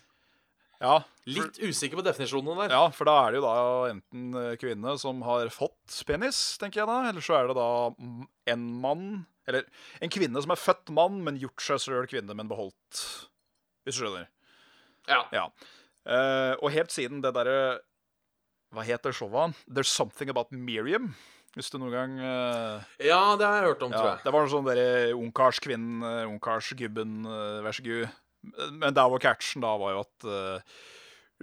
C: Ja, for,
B: litt usikker på definisjonene der.
C: ja, for da er det jo da enten eh, kvinne som har fått penis, tenker jeg da, eller så er det da mm, en mann Eller en kvinne som er født mann, men gjort seg sjøl kvinne, men beholdt Hvis du skjønner.
B: Ja.
C: Ja. Eh, og helt siden det derre Hva heter showet? There's Something About Miriam. Hvis du noen gang eh,
B: ja, det har jeg hørt om, tror
C: ja,
B: jeg.
C: Det var noe sånn derre ungkarskvinnen, eh, ungkarsgubben, eh, vær så god. Men der var catchen, da, var jo at eh,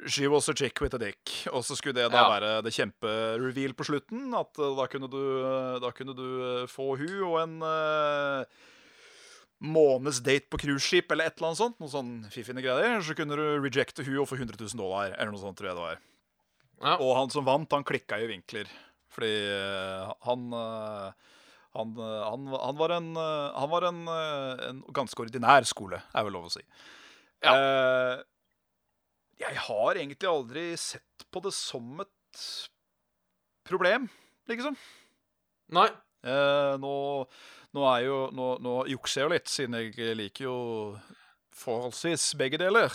C: She was a chick with a dick. Og så skulle det da
B: Ja.
C: være det kjempe-reveal på slutten. At eh, da kunne du, eh, da kunne du eh, få hun og en eh, måneds date på cruiseskip eller et eller annet sånt. Noen sånn fiffige greier. Så kunne du rejecte hun og få 100 000 dollar, eller noe sånt, tror jeg det var.
B: Ja.
C: Og han som vant, han klikka i vinkler. Fordi eh, han eh, han, eh, han, va- han var, en, eh, han var en, eh, en ganske ordinær skole, er vel lov å si. Eh, jeg har egentlig aldri sett på det som et problem, liksom.
B: Nei.
C: Eh, nå, nå er jo Nå, nå jukser jeg jo litt, siden jeg liker jo forholdsvis begge deler.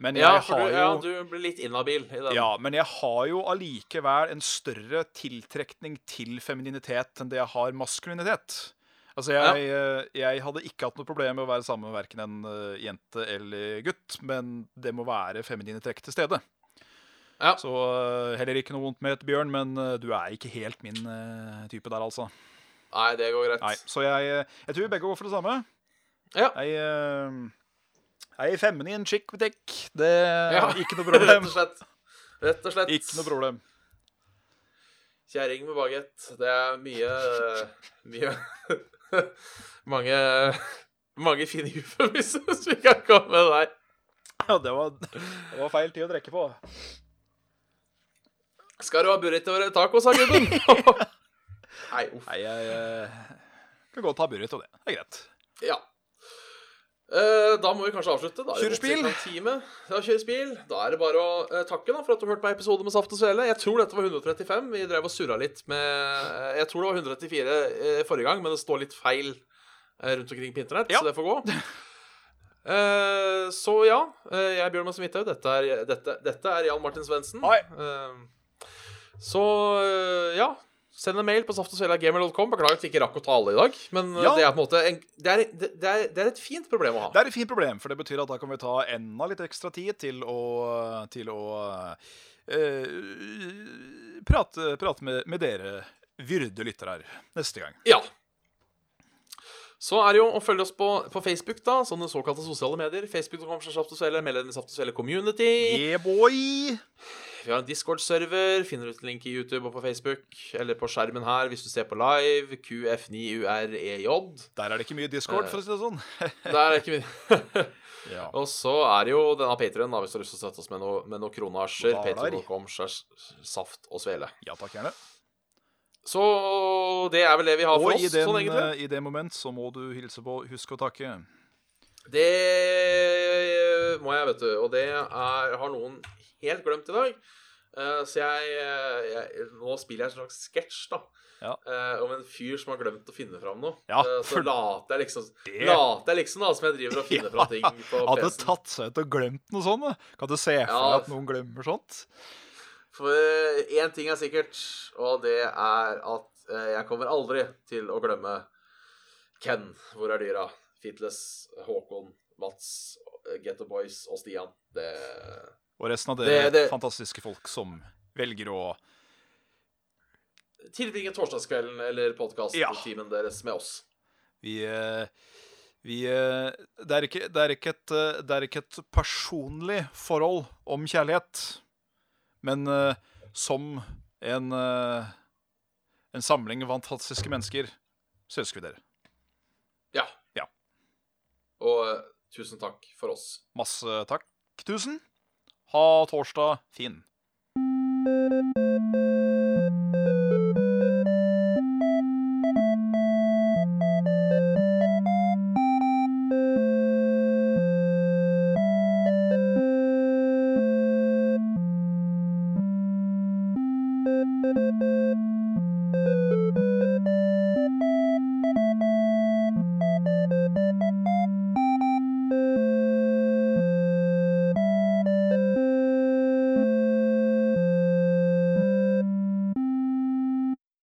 C: Men jeg
B: Ja, for
C: har
B: du,
C: jo
B: ja, du blir litt inhabil i den.
C: ja, men jeg har jo allikevel en større tiltrekning til femininitet enn det jeg har maskulinitet. Altså, jeg, eh, jeg hadde ikke hatt noe problem med å være sammen med verken en eh, jente eller gutt, men det må være feminine trekk til stede.
B: Ja.
C: Så eh, heller ikke noe vondt med et bjørn, men eh, du er ikke helt min eh, type der, altså.
B: Nei, det går greit. (laughs)
C: Nei, så jeg, eh, jeg tror vi begge går for det samme.
B: Ja.
C: Jeg, eh, jeg er feminin chick with dick. Det er
B: Ja.
C: ikke noe
B: Rett (laughs)
C: problem.
B: og slett. Rett og slett.
C: Ikke noe problem.
B: Kjerring med bagett. Det er mye Mye (laughs) Mange Mange fine eufemismer som vi kan komme med der.
C: Ja, det var, det var feil tid å trekke på.
B: Skal du ha burrito eller taco, sa
C: (laughs)
B: gubben. Nei, uff.
C: Nei, jeg eh, kan godt ha burrito, det. Det er greit.
B: Ja. Eh, Da må vi kanskje avslutte. Da er det
C: Kjøre spil.
B: gått ca. en time. Ja, kjøre spil. Da er det bare å eh, takke da, for at du hørte på episode med Saft og Svele. Jeg tror dette var 135. Vi drev og surra litt med eh, Jeg tror det var 134 eh, forrige gang, men det står litt feil eh, rundt omkring på internett,
C: Ja.
B: så det får
C: (laughs)
B: gå. Eh, så ja, eh, jeg er Bjørn Mads Midthaug. Dette, er- dette, dette er Jan Martin Svendsen.
C: Hei.
B: Eh, så eh, ja. Send en mail på saftogsvele.gmail.com. Beklager at vi ikke rakk å ta alle i dag. Men eh,
C: Ja.
B: det er på en måte en, det, er, det, det, er, det er et fint problem å ha.
C: Det er et fint problem, for det betyr at da kan vi ta enda litt ekstra tid til å, til å eh, prate, prate med, med dere vyrde lyttere her neste gang.
B: Ja. Så er det jo å følge oss på, på Facebook, da, sånne såkalte sosiale medier. Facebook.com, Saftogsvele, meld deg inn i Saftogsvele Community.
C: Yeah, boy!
B: Vi har en Discord-server. Finner ut link i YouTube og på Facebook. Eller på skjermen her hvis du ser på live. QF9UREJ.
C: Der er det ikke mye discord, for å si det sånn.
B: E Der er ikke min (laughs)
C: Eh, Ja.
B: Og så er det jo denne Patreon da, hvis du har lyst til å støtte oss med noe- med noen kronasjer.
C: Dalar.
B: Patreon.com slash saft og svele.
C: ja takk, gjerne.
B: Så det er vel det vi har for
C: Og i,
B: oss,
C: den,
B: sånn egentlig.
C: eh, i det moment så må du hilse på Husk å takke.
B: Det eh, må jeg, vet du. Og det er, har noen helt glemt i dag. Eh, så jeg, eh, jeg Nå spiller jeg en slags sketsj, da.
C: Ja.
B: Eh, om en fyr som har glemt å finne fram noe.
C: Ja,
B: Eh,
C: for
B: så later jeg liksom
C: det-
B: Later jeg liksom da som jeg driver og finner fram ting på
C: Hadde
B: PC-en.
C: tatt seg ut og glemt noe sånt. da. Kan du se for
B: Ja.
C: deg at noen glemmer sånt?
B: For én ting er sikkert, og det er at eh, jeg kommer aldri til å glemme Ken, Hvor er dyra? Fitles, Håkon, Mats, Get the Boys og Stian. Det
C: Og resten av dere
B: Det- det-
C: fantastiske folk som velger å
B: Tilbringe torsdagskvelden eller
C: Ja.
B: podkast-timen deres med oss.
C: Vi, eh, vi eh, det, er ikke, det, er ikke et, eh, det er ikke et personlig forhold om kjærlighet, men eh, som en, eh, en samling fantastiske mennesker, så elsker vi dere.
B: Ja.
C: Ja.
B: Og eh, tusen takk for oss.
C: Masse takk. Tusen. Ha torsdag fin.